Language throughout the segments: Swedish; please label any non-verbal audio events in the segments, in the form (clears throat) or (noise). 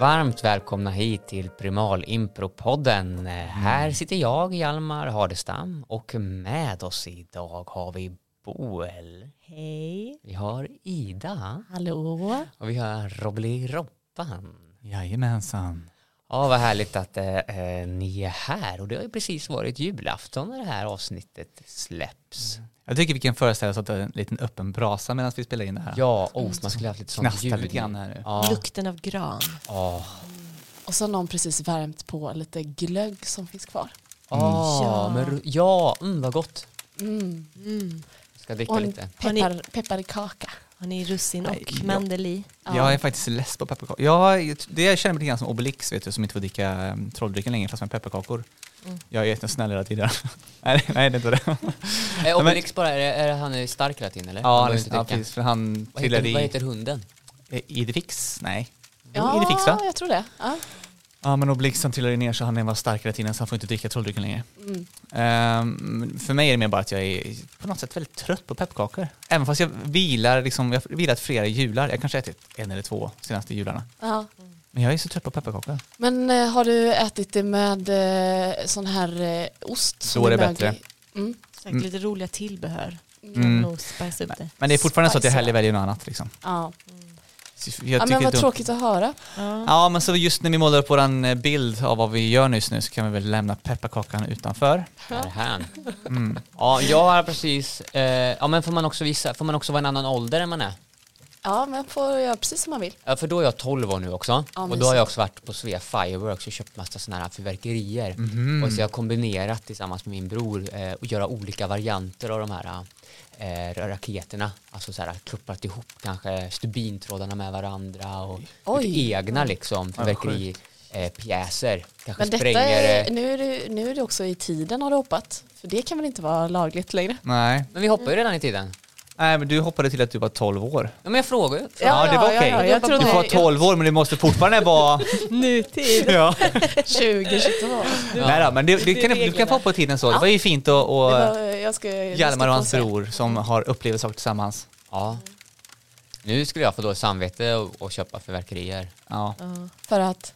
Varmt välkomna hit till Primal Impro-podden. Mm. Här sitter jag, Hjalmar Hardestam, och med oss idag har vi Boel, Hej. vi har Ida Hallå. och vi har Robbly Robban. Jajamensan. Ja, vad härligt att eh, eh, ni är här och det har ju precis varit julafton när det här avsnittet släpps. Jag tycker vi kan föreställa oss att det är en liten öppen brasa medan vi spelar in det här. Ja, oh, man skulle haft lite sånt Knastra ljud. lite grann här nu. Ja, Lukten av gran. ja. Och så har någon precis värmt på lite glögg som finns kvar. Mm. Ja, Ja. men ru- ja, mm, vad gott. Mm. Ska dricka Och en lite. Har peppar, pepparkaka. Har ni russin Nej, och ja. mandel i? Jag är faktiskt less på pepparkakor. Jag, det jag känner mig lite grann som Obelix vet du, som inte får dricka ehm, trolldrycken längre fast med pepparkakor. Mm. Jag är jättesnäll hela tiden. (laughs) nej, det- nej, det är inte det. Eh, Obelix bara, är, det, är det, han är stark hela tiden eller? ja, han han, behöver inte ja, dricka. precis, för han Vad heter, trillade vad i... heter hunden? eh, Idrifix? Nej. Ja. Ja, Idrifix va? jag tror det. Ja. Ja, men Obelix han trillade ner så han var stark hela tiden så han får inte dricka trolldrycken längre. Mm. Ehm, för mig är det mer bara att jag är på något sätt väldigt trött på pepparkakor. Även fast jag vilar, liksom, jag har vilat flera jular. Jag kanske har ätit en eller två senaste jularna. Ja. Men jag är så trött på pepparkakor. Men eh, har du ätit det med eh, sån här eh, ost? som Då är det mögel i? bättre. Mm. Säkert Mm. lite roliga tillbehör. Mm. Mm. Nog spice upp det. Men det är fortfarande så att jag Spicy. hellre väljer något annat. Liksom. Ja. Så Jag ja, tycker men det är vad dumt. tråkigt att höra. Ja. Ja, men så just när vi målar upp vår bild av vad vi gör just nu så kan vi väl lämna pepparkakan utanför. Här är han. Mm. Ja, jag har precis, eh, ja men får man också visa, får man också vara en annan ålder än man är? Ja, men får göra precis som man vill. Ja, för då är jag 12 år nu också. Ja, och då mysigt. har jag också varit på Svea Fireworks och köpt massa sådana här fyrverkerier. Och så jag har kombinerat tillsammans med min bror eh, och göra olika varianter av de här eh, raketerna. Alltså så här kluppat ihop kanske stubintrådarna med varandra och lite Oj. egna liksom Ja, vad sjukt. fyrverkeripjäser. Kanske Men detta spränger är, eh, nu, är det, nu är det också i tiden har du hoppat. För det kan väl inte vara lagligt längre? Nej. Men vi hoppar ju redan i tiden. Nej, men du hoppade till att du var 12 år. Ja, men jag frågar ju. Ja, det var okej. jag Du trodde får vara 12 år, men du måste fortfarande (laughs) vara... (laughs) Nutid. ja. 2022. Nej då, men du, du, kan, du kan få på tiden så. Det var ju fint att Det och, var, jag ska Hjalmar och hans lyssna på bror som har upplevt saker tillsammans. Ja. Nu skulle jag få dåligt samvete och, och köpa fyrverkerier. Ja. Ja. sen. För att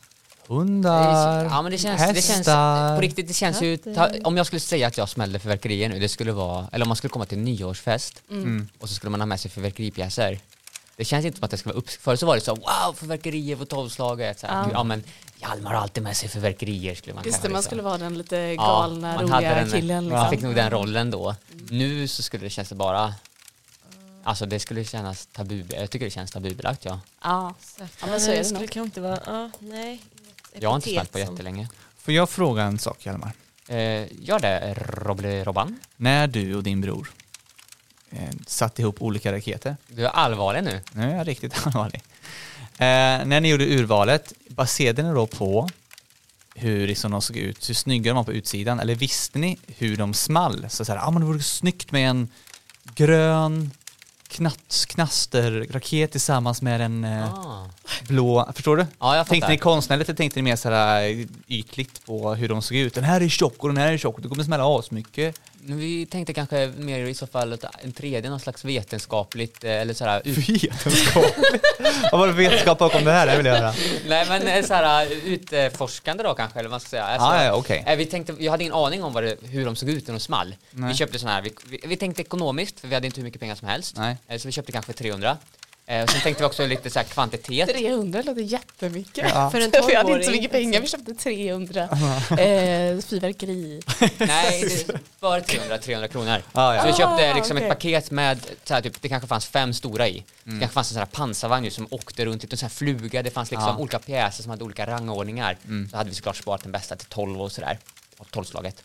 Hundar, Ja men det känns, det känns hästar. på riktigt, det känns ju, ta, Katter. om jag skulle säga att jag smällde fyrverkerier nu, det skulle vara, eller om man skulle komma till en nyårsfest Mm. och så skulle man ha med sig fyrverkeripjäser. Det känns inte som att det ska vara upp... Förut så var det så wow fyrverkerier på tolvslaget. Så här, Ja. ja. men Hjalmar har alltid med sig fyrverkerier skulle man Just kanske det, man säga. liksom. skulle vara den lite Ja, galna, man hade roliga den- killen. Man fick Liksom. nog den rollen då. Nu så skulle det kännas bara, alltså det skulle kännas tabu, jag tycker det känns tabubelagt ja. Ja. Ja, men så är jag det eh, skulle nog. kanske inte vara... Ja, nej. Jag har inte Epitet smält på som- jättelänge. Får jag fråga en sak Hjalmar? Eh, gör det, Roble Robban. När du och din bror eh, satte ihop olika raketer, Du är allvarlig nu. nu är jag riktigt (laughs) allvarlig. Eh, när ni gjorde urvalet, baserade ni då på hur liksom de såg ut, hur snygga de var på utsidan, eller visste ni hur de small? Så såhär, ja ah, men det vore snyggt med en grön knatt, knasterraket tillsammans med en eh, Ah. blå, förstår du? Ja, jag Tänkte ni fattar. konstnärligt eller tänkte ni mer såhär ytligt på hur de såg ut? Den här är tjock och den här är tjock, det kommer smälla asmycket. (laughs) Vi tänkte kanske mer i så fall att en tredje, någon slags vetenskapligt eh, eller sådär (laughs) ut... Vetenskap? Vad var det för vetenskap bakom det här? Det vill jag höra. Nej men eh, såhär utforskande då kanske eller vad man ska säga. Alltså, Ah, ja, okej. eh, vi tänkte, jag hade ingen aning om vad det, hur de såg ut när de small. Vi Nej. köpte sådana här, vi, vi, vi tänkte ekonomiskt för vi hade inte hur mycket pengar som helst. Nej. Eh, Så vi köpte kanske 300. Eh, och sen tänkte vi också lite såhär (laughs) kvantitet. 300 låter jättemycket. Ja. (laughs) För en Vi hade inte så tolvåring. mycket pengar, vi köpte 300 (laughs) eh, fyrverkeri. Nej, det var 300, 300 kronor. Ah, Så vi ja. köpte Ah, liksom ett okej. paket med, så här, typ, det kanske fanns fem stora i. Mm. Det kanske fanns en sån här pansarvagn ju som åkte runt, lite sån här fluga, det fanns liksom Ja. olika pjäser som hade olika rangordningar. Mm. Så hade vi såklart sparat den bästa till 12 och sådär, och 12-slaget.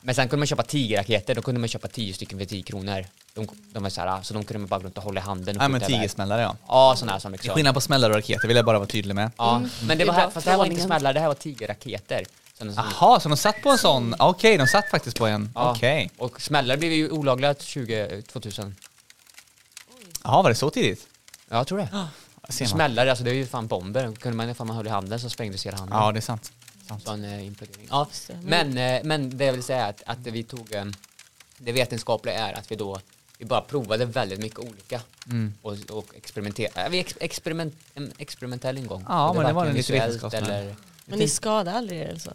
Men sen kunde man köpa 10 raketer, då kunde man köpa 10 stycken för 10 kronor. De, de var så, här, så de kunde man bara gå runt och hålla i handen och Nej men skjuta över. tigersmällare ja. Ja, sådana här som Det är liksom. skillnad på smällare och raketer vill jag bara vara tydlig med. Ja, men det var här, bara fast det här var inte ordningen. smällare, det här var 10 raketer. Så de- Jaha, så de satt på en sån? Okej, de satt faktiskt på en. Ja. Okej. Och smällare blev ju olagliga 20, 2000. Jaha, var det så tidigt? Ja, jag tror (gasps) det. Ser man. Smällare, alltså det är ju fan bomber. Kunde man ifall man höll i handen så sprängdes hela handen. Ja, det är sant. Sån eh, implodering. Ja. Just det. Men, eh, men det jag vill säga är att, att vi tog, eh, det vetenskapliga är att vi då Vi bara provade väldigt mycket olika Mm. och, och experimenterade. Vi ex, experiment, en experimentell ingång. Ja, Och men det var varken en lite visuellt vetenskaplig. eller- Men ni skadade aldrig er eller så?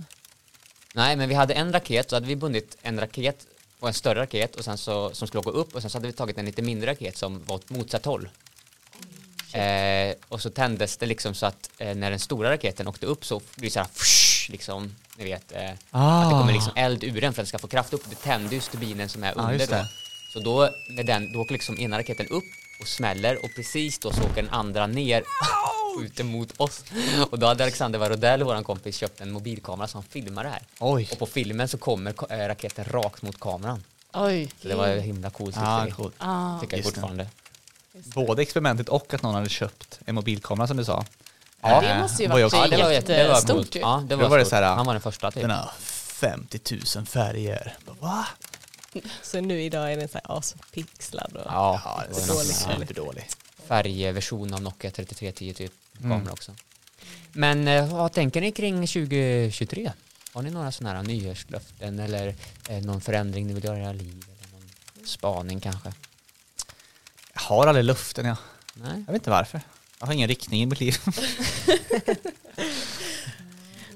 Nej, men vi hade en raket, så hade vi bundit en raket och en större raket och sen så, som skulle gå upp och sen så hade vi tagit en lite mindre raket som var åt motsatt håll. Eh, och så tändes det liksom så att eh, när den stora raketen åkte upp så blir det så här fush, liksom, ni vet, eh, att det Ah. kommer liksom eld ur den för att den ska få kraft upp. Det tände just turbinen som är Ja, under just då. det. Så då, med den, då åker liksom ena raketen upp och smäller och precis då så åker den andra ner och (laughs) ut emot oss. Och då hade Alexander Varodell, vår kompis, köpt en mobilkamera som filmar det här. Oj. Och på filmen så kommer ka- eh, raketen rakt mot kameran. Oj. Så det var ju himla coolt. Ah, tyckte vi. coolt. Ah. Tycker jag Just det. fortfarande. Både experimentet och att någon hade köpt en mobilkamera som du sa. Ja, Eh, det måste ju var varit Ja, det var, jätte- det var jättestort coolt. ju. Ja, det Då var, typ. var det stort. så här, Han var den första typ. Den har 50 000 färger. Bara, Va? Så nu idag är den så här aspixlad och... Ja, Ja, det var den är någon dålig. sån här superdålig. färgversion av Nokia 3310 typ. Mm. Kamera också. Men eh, vad tänker ni kring 2023? Har ni några sådana här nyårslöften eller eh, någon förändring ni vill göra i era liv? Eller någon spaning kanske? Jag har aldrig luften jag. Nej? Jag vet inte varför. Jag har ingen riktning i mitt liv.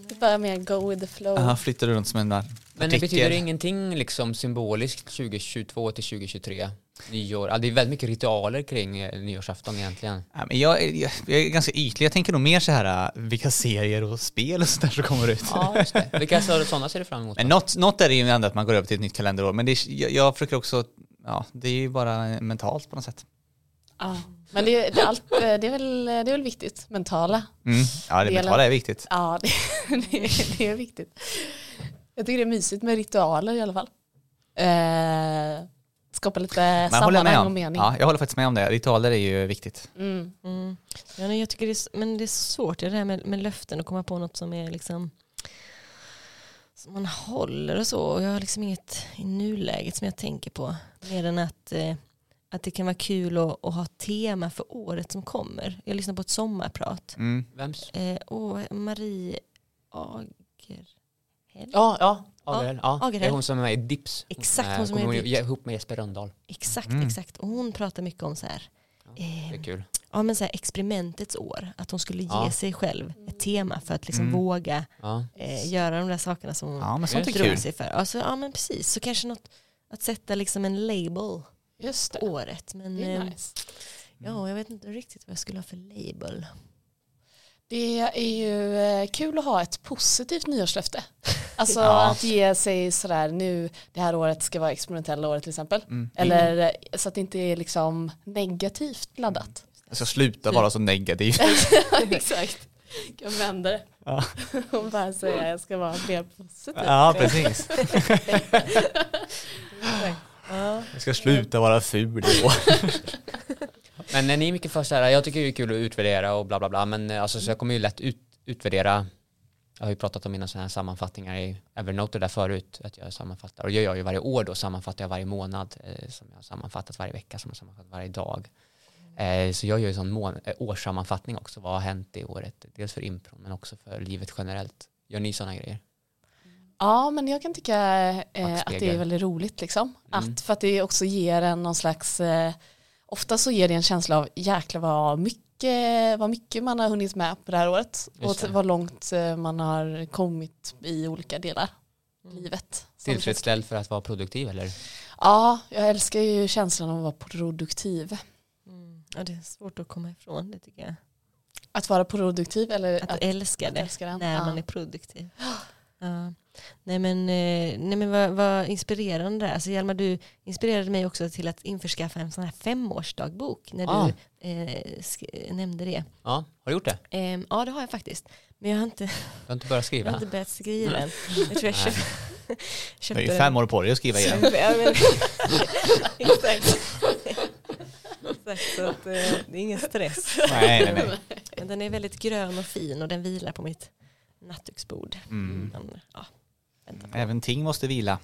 Det är bara mer go with the flow. (laughs) Jag flyttar runt som en där. Men det betyder ingenting liksom symboliskt 2022 till 2023? Nyår? Ja, det är väldigt mycket ritualer kring eh, nyårsafton (laughs) egentligen. Nej, men jag, är- jag, jag är ganska ytlig. Jag tänker nog mer så här äh, vilka serier och spel och sånt där som kommer ut. Ja, just det. Vilka sådana ser du fram emot? Men då? något, något är det ju ändå att man går över till ett nytt kalenderår. Men det är, jag, jag försöker också, ja, det är ju bara mentalt på något sätt. Ja. Men det, är- det, är allt, eh, det, är väl, det är väl viktigt, mentala. Mm. Ja, det Delen. mentala är viktigt. Ja, (laughs) det, det, är- det är viktigt. Jag tycker det är mysigt med ritualer i alla fall. Eh, skapa lite Men jag håller med sammanhang och om. mening. Ja, jag håller faktiskt med om det. Ritualer är ju viktigt. Mm. Mm. Ja, nej, jag tycker det är, s- men det är så svårt det där med, med löften och komma på något som är liksom som man håller och så. Och jag har liksom inget i nuläget som jag tänker på. Mer än att, eh, att det kan vara kul att, att ha tema för året som kommer. Jag lyssnar på ett sommarprat. Mm. Vems? Eh, åh, Marie Agerhäll. Ja, ja. Ja, Agerell. Ja, Det är Agerell. hon som är med i Dips. Exakt, Eh, hon som kommer är i ihåg- Dips. Ihop med Jesper Rönndahl. Exakt, Mm. exakt. Och hon pratar mycket om så här. Det är ehm, kul. ja, men så här experimentets år. Att hon skulle ge Ja. sig själv ett tema för att liksom Mm. våga Ja. eh, göra de där sakerna som hon Ja, men sånt är Just drog kul. sig för. Alltså, ja men precis, så kanske något att sätta liksom en label Just på det. Mm. året. Men Det är eh, nice. ja, jag vet inte riktigt vad jag skulle ha för label. Det är ju eh, kul att ha ett (laughs) positivt nyårslöfte. Alltså Ja. att ge sig sådär nu, det här året ska vara experimentella året till exempel. Mm. Eller eh, så att det inte är liksom negativt (laughs) laddat. Jag ska sluta vara så negativ. Exakt. Jag vänder det. Ja. (laughs) Och bara säga jag ska vara mer positiv. ja, precis. Ja. Jag ska sluta vara ful i år. Men är ni mycket för så här, jag tycker det är kul att utvärdera och bla bla bla, men eh, alltså, så jag kommer ju lätt ut, utvärdera, jag har ju pratat om mina sådana här sammanfattningar i Evernote och där förut, att jag sammanfattar, och det gör jag ju varje år då, sammanfattar jag varje månad, eh, som jag har sammanfattat varje vecka, som jag har sammanfattat varje dag. Eh, så jag gör ju en sån mån, eh, årssammanfattning också, vad har hänt i året, dels för impron men också för livet generellt. Gör ni sådana grejer? Ja men jag kan tycka eh, att det är Backspegel. väldigt roligt liksom. Mm. Att, för att det också ger en någon slags, eh, ofta så ger det en känsla av jäklar vad mycket, vad mycket man har hunnit med på det här året. Och det. t- vad långt eh, man har kommit i olika delar av livet. Så- Tillfredsställd för att vara produktiv eller? Ja, jag älskar ju känslan av att vara produktiv. Mm. Ja, det är svårt att komma ifrån det tycker jag. Att vara produktiv eller Att älska att det älska den. när ja. man är produktiv. Ja. Nej men, eh, nej, men vad, vad inspirerande det är. Alltså, Hjalmar, du inspirerade mig också till att införskaffa en sån här femårsdagbok när du Ah. eh, sk- nämnde det. Ja, har du gjort det? Ehm, ja det har jag faktiskt. Men jag har inte Du har inte börjat Jag har skriva? inte börjat skriva än. Jag tror jag Nej. köp, Jag är köpte ju fem år på dig att skriva den. igen. (laughs) Ja, (laughs) men- Exakt. Exakt, så att, eh, det är ingen stress. Nej, nej, nej. Men den är väldigt grön och fin och den vilar på mitt nattduksbord. Mm. Men, ja, vänta. Även ting måste vila.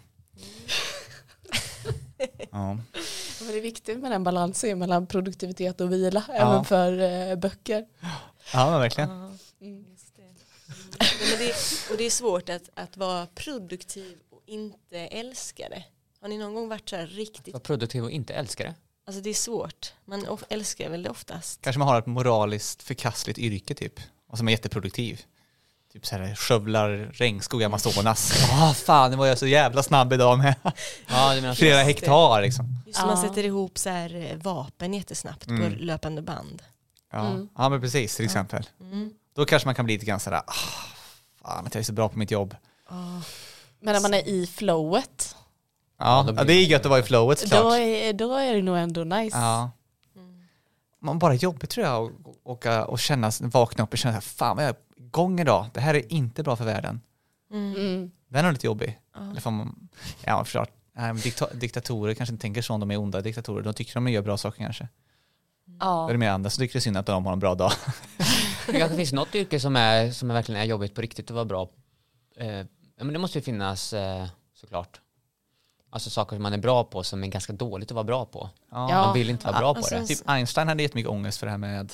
Ja. Men det är viktigt med den balansen mellan produktivitet och vila, Ja. även för eh, böcker. ja, men verkligen. Ja, Mm. just det. Nej, men det, och det är svårt att, att vara produktiv och inte älska det. Har ni någon gång varit så här riktigt, Var produktiv och inte älska det. alltså det är svårt. Man of- älskar väl det oftast. Kanske man har ett moraliskt förkastligt yrke typ. Och som är jätteproduktiv. Typ så här skövlar regnskog i Amazonas. Ah fan, nu var jag så jävla snabb idag med Ja, du menar så. (laughs) flera det. hektar liksom. Just när man Ja. sätter ihop så här eh, vapen jättesnabbt Mm. på löpande band. Ja, Mm. ja men precis till exempel. Mm. Då kanske man kan bli lite grann sådär, ah, fan att jag är så bra på mitt jobb. Åh. Men när man är i flowet, Ja, Ja, då ja, blir det är det- gött att vara i flowet då såklart. är, då är det nog ändå nice. Ja. Mm. Man bara jobbigt tror jag att åka och känna, vakna upp och känna såhär, fan vad jag är igång idag, det här är inte bra för världen. Mm. Mm. Den är lite jobbig. Ja. Eller får man, ja, förklart. Nej, men dikta, diktatorer kanske inte tänker så om de är onda diktatorer. De tycker de gör bra saker kanske. Då är Ja. det mer andra som tycker det är synd att de har en bra dag. Det kanske finns något yrke som, är, som är verkligen är jobbigt på riktigt och vara bra. Eh, ja, men det måste ju finnas eh, såklart. Alltså saker som man är bra på som är ganska dåligt att vara bra på. Ja. Man vill inte vara bra på Alltså, det. s- Typ Einstein hade jättemycket ångest för det här med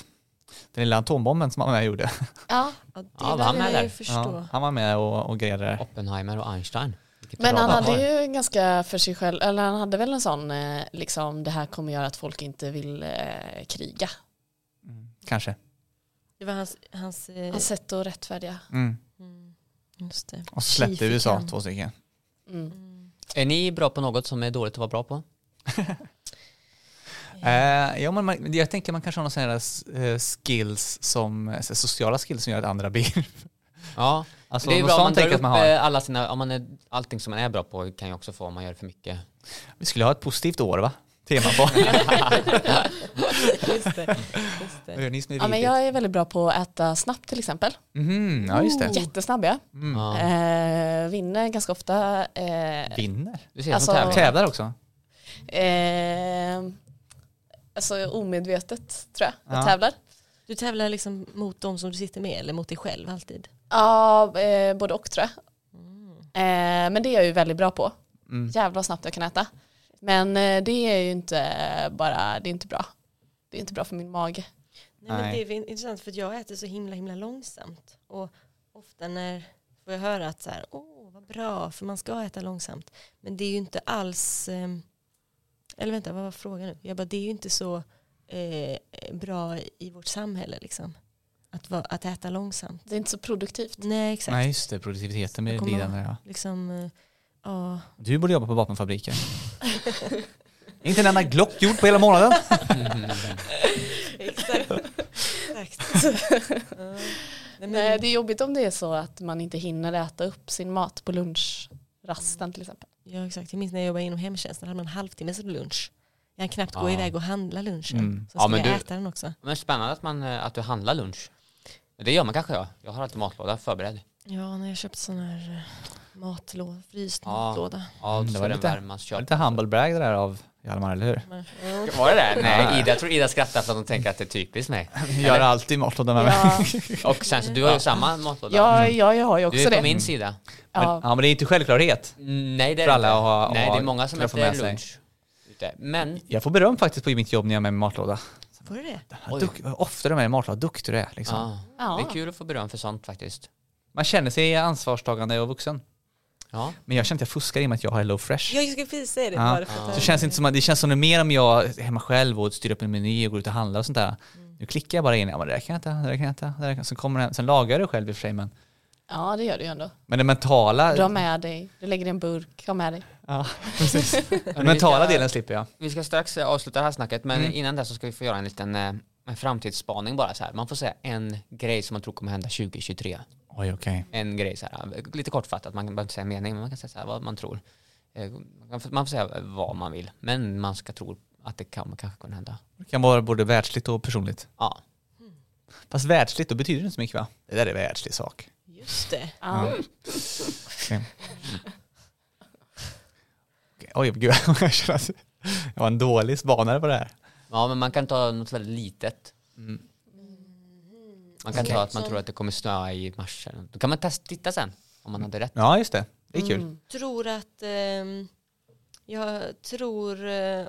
den lilla atombomben som han var med och gjorde. ja. Ja, det Ja, vad där han vill jag är ju där. förstå. Ja, han var med och, och grejade det. Oppenheimer och Einstein. Vilket Men bra han par. hade ju en ganska för sig själv, eller han hade väl en sån, eh, liksom det här kommer göra att folk inte vill eh, kriga. Mm, kanske. Det var hans, hans eh, Hans sätt att rättfärdiga. Mm. mm, just det. Och så släppte Tji fick USA han. två stycken. Mm. Mm. Är ni bra på något som är dåligt att vara bra på? Eh, ja, men man, jag tänker man kanske har några sådana här eh, skills som, eh, sociala skills som gör att andra blir. (laughs) Ja, Alltså, det är något bra om sånt man drar tänker jag upp att man har. eh, alla sina, om man är, allting som man är bra på kan ju också få om man gör det för mycket. Vi skulle ha ett positivt år va? Tema på. Just det. Just det. Ni som är Ja, men vidrigt. jag är väldigt bra på att äta snabbt till exempel. Mhm, ja just det. Jättesnabb jag. Mm. Ja. Eh, vinner ganska ofta. Eh, Vinner. Du ser det alltså- som tävling. Tävlar också. eh, alltså omedvetet tror jag. Jag Ja. tävlar. (laughs) Du tävlar liksom mot de som du sitter med eller mot dig själv alltid? Ja, eh, både och tror jag. Eh, men det är jag ju väldigt bra på. Mm. Jävlar vad snabbt jag kan äta. Men eh, det är ju inte bara, det är inte bra. Det är inte bra för min mage. Nej, men Nej. det är intressant för att jag äter så himla himla långsamt. Och ofta när får jag höra att så här, åh vad bra för man ska äta långsamt. Men det är ju inte alls, ehm, eller vänta vad var frågan nu? Jag bara det är ju inte så eh, bra i vårt samhälle liksom. Att, va, att äta långsamt. Det är inte så produktivt. Nej exakt. Nej just det, produktiviteten Jag med kommer lidande ja. Liksom, eh, ja. Du borde jobba på vapenfabriken. (laughs) Inte en enda Glock gjord på hela månaden. Exakt. exakt. (laughs) Ja. Nej, men- Nej, eh, det är jobbigt om det är så att man inte hinner äta upp sin mat på lunchrasten till exempel. Ja exakt, jag minns när jag jobbade inom hemtjänsten, hade man en halvtimmes lunch. Jag hann knappt gå Ja. iväg och handla lunchen. Mm. Så Ah. Ja, skulle men jag du- äta den också. (laughs) Men spännande att, man, eh, att du handlar lunch. Det gör man kanske jag. Jag har alltid matlåda förberedd. Mm, Ja, när jag köpte sån här eh, matlåda, fryst Ja. matlåda. Ja, Mm, det så var den lite- värmas Det var köp. Lite humble brag det där av Hjalmar, eller hur? Men, Var det det? Ja. Nej, Ida, jag tror Ida skrattar för att hon tänker att det är typiskt mig. Gör alltid matlåda med mig. Ja, Och sen så du har ju samma matlåda. ja, ja, jag har ju du är också på det. min sida. Men, Ja. ja men det är inte självklarhet. Nej, det är För alla inte. att ha- Nej, ha- det är många som kunna få äter med sig. lunch. ute. Men, Jag får beröm faktiskt på mitt jobb när jag är med mig matlåda. var det det? Oj. Duk, ofta är med mig matlåda, duktig du är liksom. ja, det Ja. är kul att få beröm för sånt faktiskt. Man känner sig ansvarstagande och vuxen. Ja. Men jag känner att jag fuskar i och med att jag har Hello Fresh. Ja, jag skulle precis säga det. Ja. Ah. Bara för att Så känns det, inte som att, det känns som det mer om jag är hemma själv och styr upp en meny och går ut och handlar och sånt där. Mm. Nu klickar jag bara in, ja men det där kan jag äta, det där kan jag äta, det där kan jag. Sen, kommer det, sen lagar jag det själv i och för sig men, ja, det gör du ju ändå. men det mentala, Du har med dig, du lägger i en burk, har med dig. ja, precis. (laughs) den mentala delen slipper jag. Vi ska strax eh, avsluta det här snacket, men Mm. innan det så ska vi få göra en liten eh, en framtidsspaning bara så här. Man får säga en grej som man tror kommer hända 2023. Oj okej. En grej så här, eh, lite kortfattat, man behöver inte säga en mening, men man kan säga så här, vad man tror. Eh, Man får, man får säga vad man vill, men man ska tro att det kan, kanske kan hända. Det kan vara både världsligt och personligt. Ja. Fast världsligt, då betyder det inte så mycket va? Det där är en världslig sak. Just det. Ja. Okej, Oj gud, (laughs) jag känner att jag var en dålig spanare på det här. ja, men man kan ta något väldigt litet. Man kan Okej. ta att man tror att det kommer snöa i mars. eller något. Då kan man testa, titta sen om man hade rätt. Ja just det, det är kul. Mm. Tror att... ehm, jag tror eh,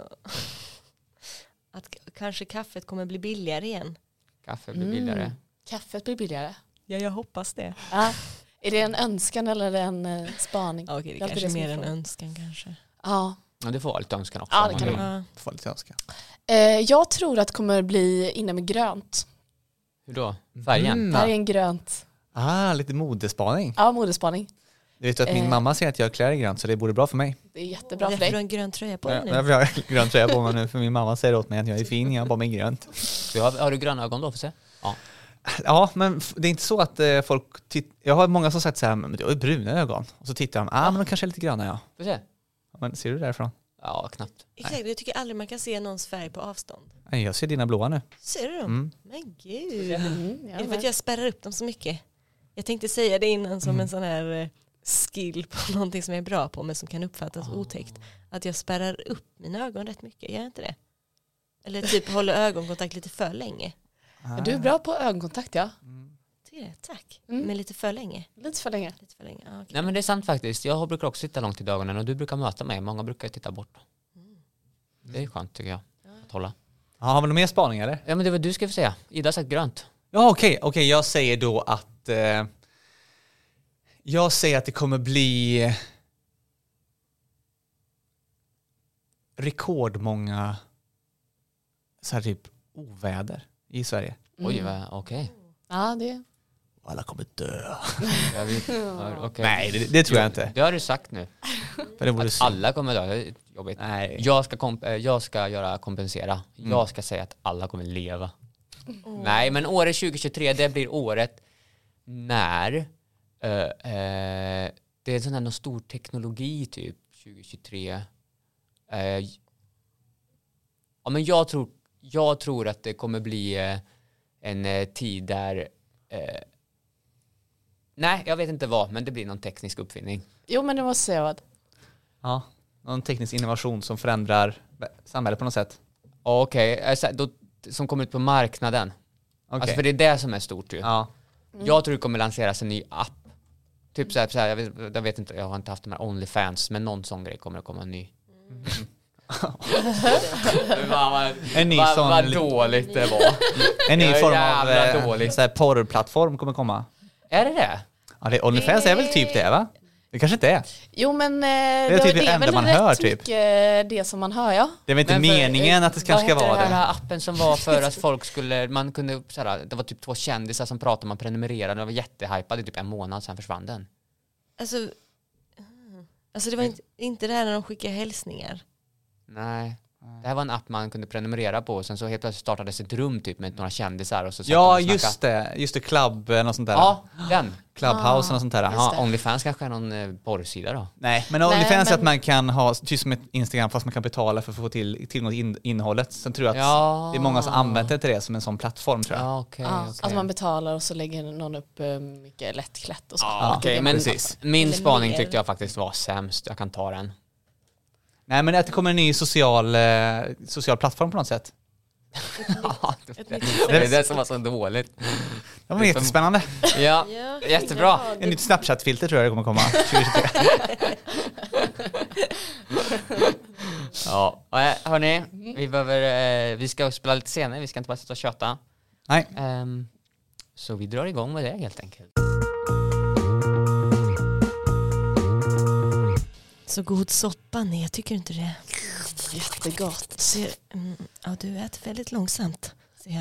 (laughs) att k- kanske kaffet kommer bli billigare igen. Kaffe blir billigare. Mm. Kaffet blir billigare. Ja, jag hoppas det. Ja. Är det en önskan eller en eh, spaning? Ja, okej, det Ja, kanske är som mer är en frågan. önskan kanske. Ja, Ja, det får vara lite önskan också. Ja, om det man kan vill. det Ja. Får lite önska. Eh, jag tror att det kommer bli inne med grönt. Hur då? Färgen? Det här är en grönt. Mm. Ah, lite modespaning. Ja, modespaning. Du vet ju att min Eh. mamma säger att jag klär i grönt så det borde bra för mig. Det är jättebra Därför för du har dig. en grön tröja på dig Jag, nu. jag har (laughs) grön tröja på mig nu för min mamma säger åt mig att jag är fin, jag har bara mig grönt. Du har, har du gröna ögon då? Får se? Ja. Ja, men f- det är inte så att eh, folk titt- Jag har många som sagt så här, men du har ju bruna ögon. Och så tittar de, ah men de kanske är lite gröna ja. Får se? Men ser du därifrån? Ja, knappt. Exakt, jag tycker aldrig man kan se någons färg på avstånd. Nej, jag ser dina blåa nu. Ser du dem? Mm. Men gud. Mm, Är det för att ja, jag spärrar upp dem så mycket? Jag tänkte säga det innan som Mm. en sån här eh, skill på (laughs) någonting som jag är bra på men som kan uppfattas Ah. otäckt. Att jag spärrar upp mina ögon rätt mycket, gör jag inte det? Eller typ håller ögonkontakt lite för länge. Ah. du är bra på ögonkontakt ja. Tycker det? Tack. Mm. Men lite för länge. Lite för länge. Lite för länge. Ja, okej. Nej men det är sant faktiskt. Jag brukar också sitta långt i ögonen och du brukar möta mig. Många brukar titta bort. Mm. Det är skönt tycker jag. Att hålla. Ja, har vi några mer spaning eller? Ja men det var du ska få säga. Ida har sagt grönt. Ja, okej. Okej, jag säger då att... Eh, jag säger att det kommer bli rekordmånga så här typ oväder i Sverige. Oj, Mm. va- (laughs) okej. Ja, det Alla kommer dö. Jag vet- ja, okej. (laughs) Nej, det, det tror jag inte. Det har du sagt nu. För det vore Att synd. alla kommer dö. Det är jobbigt. Nej. Jag ska, komp- eh, jag ska göra kompensera. Jag ska säga att alla kommer leva. Nej, men året 2023, det blir året när eh, eh, det är sån här någon stor teknologi typ 2023. Eh, ja, men jag tror, jag tror att det kommer bli eh, en eh, tid där eh, Nej, jag vet inte vad, men det blir någon teknisk uppfinning. Jo, men det måste jag säga vad. Ja, någon teknisk innovation som förändrar samhället på något sätt. Okej, alltså, då- som kommer ut på marknaden. Okej. Alltså för det är det som är stort ju. ja. Jag tror det kommer lanseras en ny app. Typ så här, så här jag, vet, jag vet inte, jag har inte haft de här Onlyfans, men någon sån grej kommer att komma en ny. Mm. (laughs) vad vad, En ny vad, sån- vad dåligt det var. En ny Jag är form av jävla eh, dålig. så här porrplattform kommer komma. Är det det? Ja, det, Onlyfans är väl typ det va? Det kanske inte är. Jo, men eh, det, typ det det är enda väl man rätt hör, typ. mycket eh, det som man hör ja. Det är väl inte Men för- meningen att det kanske ska Vad vara hette det. den här appen som var för att folk skulle, man kunde, så här, det var typ två kändisar som pratade, man prenumererade, den var jättehypad i typ en månad, sen försvann den. Alltså, mm. alltså det var inte, inte det här när de skickar hälsningar. Nej. Det här var en app man kunde prenumerera på och sen så helt plötsligt startades ett rum typ med några kändisar och så satt Ja, de och just snackade. det. Just det, Club, eh, något sånt där. Ja, Ah, den. Clubhouse och något sånt där. Jaha, det. Onlyfans kanske är någon eh, porrsida då? Nej, men Nej, Onlyfans är att men- man kan ha, typ som ett Instagram, fast man kan betala för att få till, tillgång till in, innehållet. Sen tror jag att Ja. det är många som använder det till det som en sån plattform tror jag. Ja, okej. Ja, okej. Att man betalar och så lägger någon upp eh, mycket lättklätt och så. Ja, okej, Ja, men precis. min Eller spaning mer. tyckte jag faktiskt var sämst. Jag kan ta den. Nej, men att det kommer en ny social, eh, social plattform på något sätt. det Ett nytt är det som var så dåligt. Det var Typ jättespännande. Ja, Ja, jättebra. ja, Ett det- nytt Snapchat-filter tror jag det (laughs) kommer komma. 2023. Ja, och, eh, hörni, vi behöver, eh, vi ska spela lite senare, vi ska inte bara sitta och köta. Nej. Ehm, så vi drar igång med det helt enkelt. Så god soppa? Nej, jag tycker inte det. Jättegott. Ser, mm, ja, du äter väldigt långsamt. Ser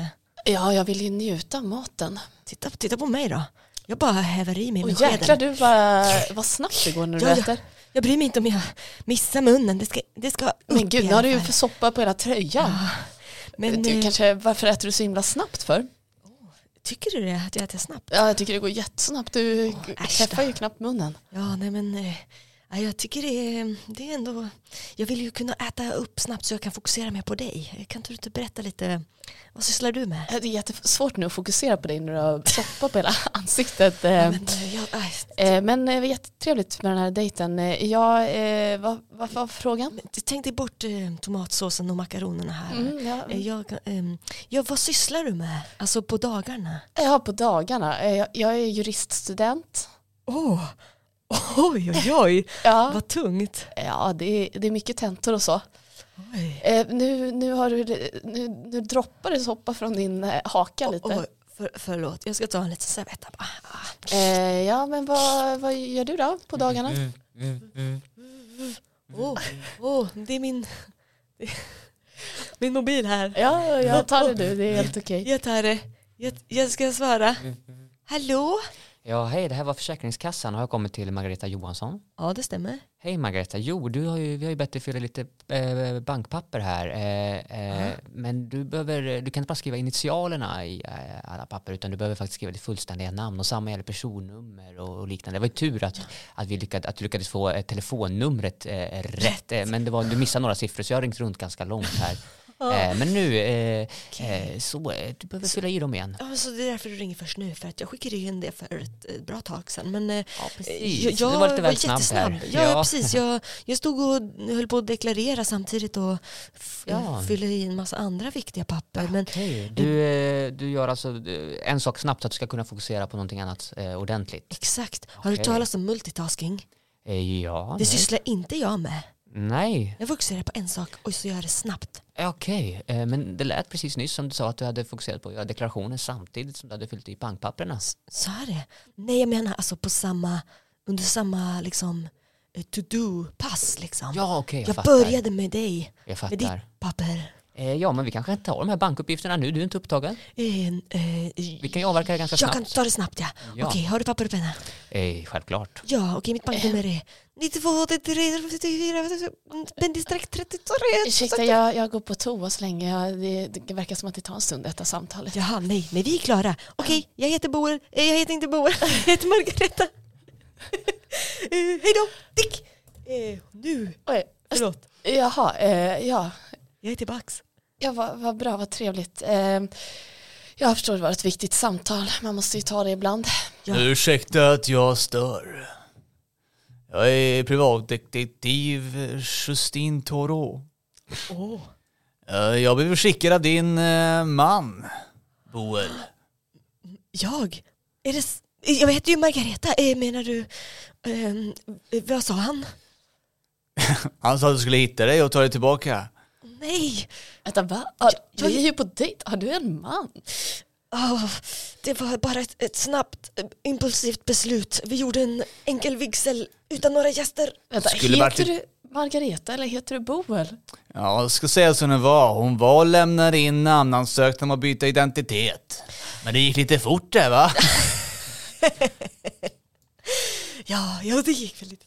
jag. Ja, jag vill ju njuta av maten. Titta, titta på mig då. Jag bara häver i mig Och med jäklar skeden. du vad, vad snabbt det går när du Ja, ja. äter. Jag bryr mig inte om jag missar munnen. Det ska, det ska upp Men gud, i nu har alla du ju fall. för soppa på hela tröjan. Men du, eh, kanske, varför äter du så himla snabbt för? tycker du det, att jag äter snabbt? Ja, jag tycker det går jättesnabbt. Du äsch träffar då. ju knappt munnen. Ja, nej men eh, ja, jag tycker det är, det är ändå... Jag vill ju kunna äta upp snabbt så jag kan fokusera mer på dig. Kan inte du inte berätta lite, vad sysslar du med? Äh, Det är jättesvårt nu att fokusera på dig när (laughs) du har soppa på hela ansiktet. Eh, Men, eh, jag, aj, eh, Men eh, det var jättetrevligt med den här dejten. Eh, Jag, eh, vad, vad var frågan? men tänk dig bort eh, tomatsåsen och makaronerna här. Mm, ja. Eh, Jag, ehm, ja, vad sysslar du med? Alltså på dagarna? Ja, på dagarna. Eh, Jag, jag är juriststudent. Åh, Oj, oj, oj, Ja, vad tungt. ja det, är, det är mycket tentor och så. Oj. Eh, Nu, nu, har du, nu, nu droppar det soppa från din eh, haka lite. Oj, för, förlåt, jag ska ta en liten servett. här bara. Ah. Eh, ja, men vad, vad gör du då på dagarna? Åh, åh, det är min, det är min mobil här. Ja, jag tar det nu. Det är helt okej. Jag tar det. Jag, jag ska svara. Hallå? Ja, hej, det här var Försäkringskassan. Har jag kommit till Margareta Johansson? Ja, det stämmer. Hej Margareta, jo du har ju, vi har ju bett dig fylla lite eh, bankpapper här. Eh, eh, Men du, behöver, du kan inte bara skriva initialerna i eh, alla papper utan du behöver faktiskt skriva ditt fullständiga namn och samma gäller personnummer och, och liknande. Det var ju tur att, att, vi lyckad, att du lyckades få eh, telefonnumret eh, rätt eh, men det var, du missade några siffror så jag har ringt runt ganska långt (laughs) här. Eh, men nu, eh, eh, så eh, du behöver fylla i dem igen. Ja, men så det är därför du ringer först nu, för att jag skickade ju in det för ett eh, bra tag sedan. Men eh, Ja, jag, jag du var lite väl snabb jättesnabb. här. Ja, precis. Jag, jag stod och höll på att deklarera samtidigt och f- Ja. fyllde i en massa andra viktiga papper. Men Okej, Du, eh, du gör alltså eh, en sak snabbt så att du ska kunna fokusera på någonting annat eh, ordentligt. exakt, har du Okej. talat om multitasking? Eh, Ja, Det nej. sysslar inte jag med. nej. Jag fokuserar på en sak och så gör jag det snabbt. Eh, Okej, Eh, men det lät precis nyss som du sa att du hade fokuserat på att göra deklarationen samtidigt som du hade fyllt i bankpapperna. Så är det. Nej, jag menar alltså på samma, under samma liksom eh, to-do-pass liksom. Ja, okej, jag, jag fattar. började med dig, Jag med ditt fattar. papper. Eh, ja, men vi kanske tar de här bankuppgifterna nu, du är inte upptagen. Eh, eh, Vi kan ju avverka det ganska jag kan snabbt. ta det snabbt ja. Ja. Okej, har du papper och penna? Eh, självklart. Ja, okej mitt banknummer är 92 33 54 pendistrack 33. Ursäkta, jag, jag går på toa så länge. Jag, det, det verkar som att det tar en stund detta samtalet. Jaha, nej, nej vi är klara. Okej, jag heter Boel, eh, jag heter inte Boel, (laughs) jag heter (laughs) Margareta. Eh, Hej då, tick! Eh, nu, Oj, förlåt, jaha, eh, ja. jag är tillbaks. Ja, vad, vad bra, vad trevligt. Eh, jag förstår det var ett viktigt samtal. Man måste ju ta det ibland. Ja. Ursäkta att jag stör. Jag är privatdetektiv Justin Toro. Åh, Jag blev skickad av din eh, man, Boel. jag? Är det, s- jag heter ju Margareta, eh, menar du, ehm, eh, vad sa han? Han sa att du skulle hitta dig och ta dig tillbaka. Nej, Vänta, va? Har, Jag- vi är ju på dejt. Har du en man? Åh, Ah, det var bara ett, ett snabbt, eh, impulsivt beslut. Vi gjorde en enkel vigsel utan några gäster. Vänta, Skulle heter varit- du Margareta eller heter du Boel? Ja, jag ska säga som det var. Hon var och lämnade in namnansökan om att byta identitet. Men det gick lite fort där va? Ja, ja det gick väl lite.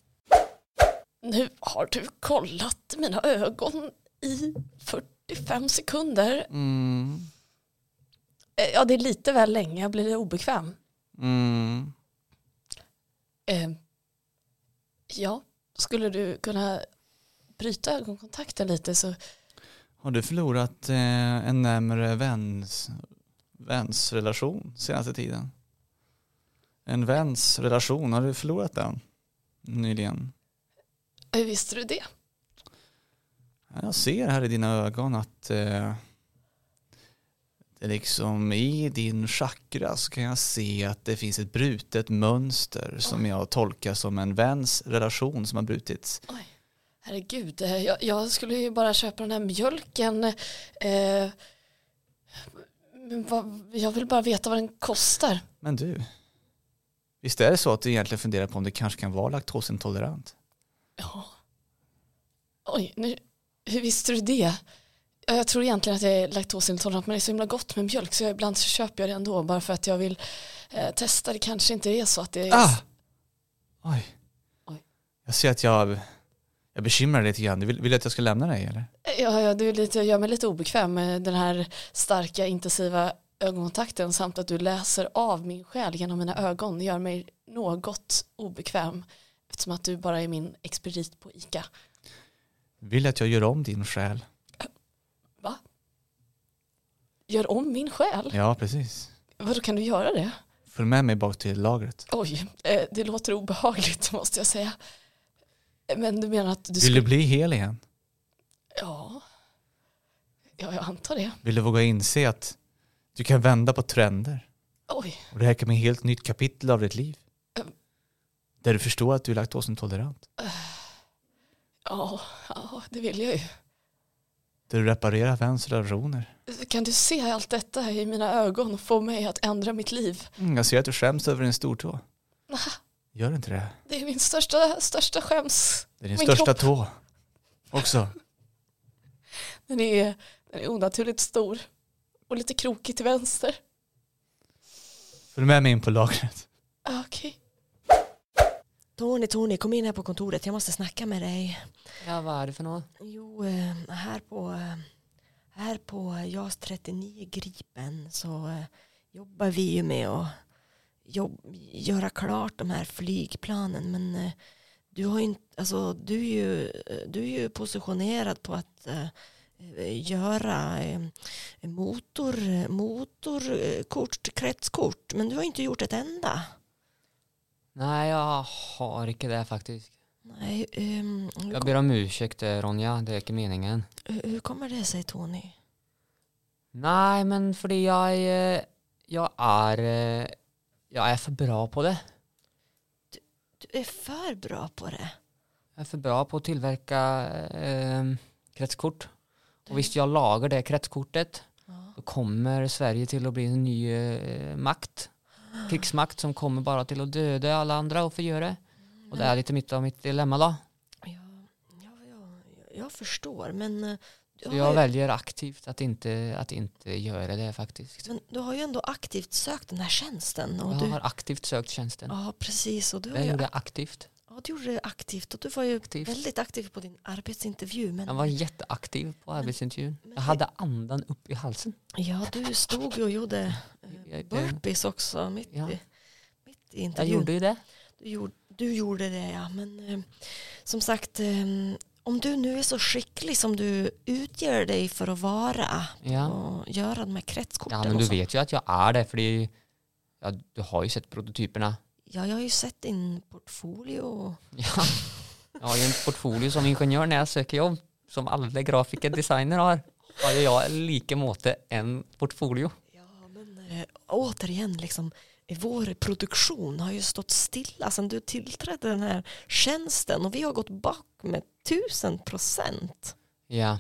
Nu har du kollat mina ögon i 45 sekunder. Mm, Eh, Ja, det är lite väl länge. Jag blir obekväm. mm. Eh, ja, skulle du kunna bryta ögonkontakten lite så Har du förlorat eh, en närmare väns, vänsrelation senaste tiden? En vänsrelation, har du förlorat den nyligen? eh, visste du det? Ja, Jag ser här i dina ögon att eh, det liksom i din chakra så kan jag se att det finns ett brutet mönster som jag tolkar som en väns relation som har brutits. Oj, herregud. eh, Jag, jag skulle ju bara köpa den här mjölken. Eh, men vad, jag vill bara veta vad den kostar. Men du, visst är det så att du egentligen funderar på om det kanske kan vara laktosintolerant? Ja. Oj, nu, hur visste du det? Ja, Jag tror egentligen att jag är laktosintolerant men det är så himla gott med mjölk så jag, ibland så köper jag det ändå bara för att jag vill eh, testa. Det kanske inte är så att det är... Ah! Oj. Oj. Jag ser att jag, jag bekymrar dig lite grann. Du vill, vill du att jag ska lämna dig eller? Ja, ja du är lite, gör mig lite obekväm med den här starka intensiva ögonkontakten samt att du läser av min själ genom mina ögon. Det gör mig något obekväm eftersom att du bara är min experit på ICA. Vill du att jag gör om din själ? Gör om min själ? Ja, precis. Vadå, kan du göra det? Följ med mig bak till lagret. Oj, eh, det låter obehagligt (laughs) måste jag säga. Men du menar att du Vill du skulle... bli hel igen? Ja. ja, jag antar det. Vill du våga inse att du kan vända på trender Oj, och det här kan bli ett helt nytt kapitel av ditt liv? Ehm. Där du förstår att du är laktosintolerant. ja, ja, det vill jag ju. Där du reparerar väns relationer. Kan du se allt detta i mina ögon och få mig att ändra mitt liv? Mm, jag ser att du skäms över din stortå. Ah. Gör inte det. Det är min största, största skäms. Det är din Min största kropp. tå. också. Den är, den är onaturligt stor och lite krokig till vänster. Följ med mig in på lagret. Ah, Okej. Tony, Tony, kom in här på kontoret. Jag måste snacka med dig. Ja, vad är det för något? Jo, eh, här på, eh, här på JAS 39 Gripen så eh, jobbar vi ju med att jobb, göra klart de här flygplanen. Men eh, du, har ju inte, alltså, du, är ju, eh, du är ju positionerad på att eh, eh, göra eh, motor, motorkort, kretskort. Men du har inte gjort ett enda. Nej, jag har inte det faktiskt. Nej, ehm, hur, Jag ber om ursäkt eh, Ronja, det är inte meningen. hur, hur kommer det sig Tony? Nej, men för jag, eh, jag är, eh, jag är för bra på det. Du är för bra på det. Jag är för bra på att tillverka eh, kretskort. Och visst jag lagar det kretskortet Ja. då kommer Sverige till att bli en ny eh, makt. Krigsmakt som kommer bara till att döda alla andra och förgöra. Och det är lite mitt av mitt dilemma då. Ja, ja, ja, jag förstår, men eh, du Så har, jag ju, väljer aktivt att inte, att inte göra det faktiskt. men du har ju ändå aktivt sökt den här tjänsten. Och Jag du, Ah, har aktivt sökt tjänsten. ja, precis. Och du, har Det ju, gjorde jag aktivt. ja, du gjorde det aktivt och du var ju Aktivt. väldigt aktiv på din arbetsintervju. Men, Jag var jätteaktiv på arbetsintervjun. men Jag hade andan upp i halsen. Ja, du stod ju och gjorde (laughs) Jag- eh, jag- burpees också mitt, Ja. i, mitt i Jag intervjun. gjorde ju det. Du gjorde, du gjorde det ja, men eh, som sagt eh, om du nu är så skicklig som du utger dig för att vara Ja. och göra de här kretskorten ja, men och du så. vet ju att jag är det. För det är ju- ja, du har ju sett prototyperna. Ja, jag har ju sett din portfolio. och- Ja. Jag har ju en portfolio som ingenjör när jag söker jobb. Som alla grafiker designer har. Har ju jag lika måte en portfolio. Ja, men eh, återigen, liksom, vår produktion har ju stått stilla sedan du tillträdde den här tjänsten och vi har gått bak med tusen procent. Ja.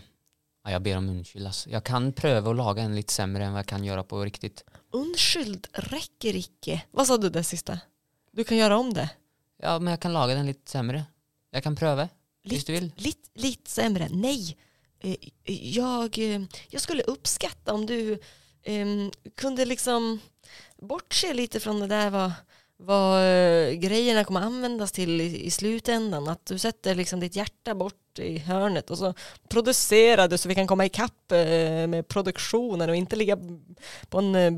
ja jag ber om ursäkt. alltså. Jag kan pröva att laga en lite sämre än vad jag kan göra på riktigt. Unskyld räcker icke. Vad sa du där sista? Du kan göra om det. Ja, men jag kan laga den lite sämre. Jag kan pröva. Visst du vill? Lite, lite sämre. Nej, eh, jag, eh, jag skulle uppskatta om du ehm, kunde liksom bortse lite från det där vad, vad eh, grejerna kommer användas till i, i slutändan. Att du sätter liksom ditt hjärta bort i hörnet och så producerar du så vi kan komma ikapp eh, med produktionen och inte ligga på en eh,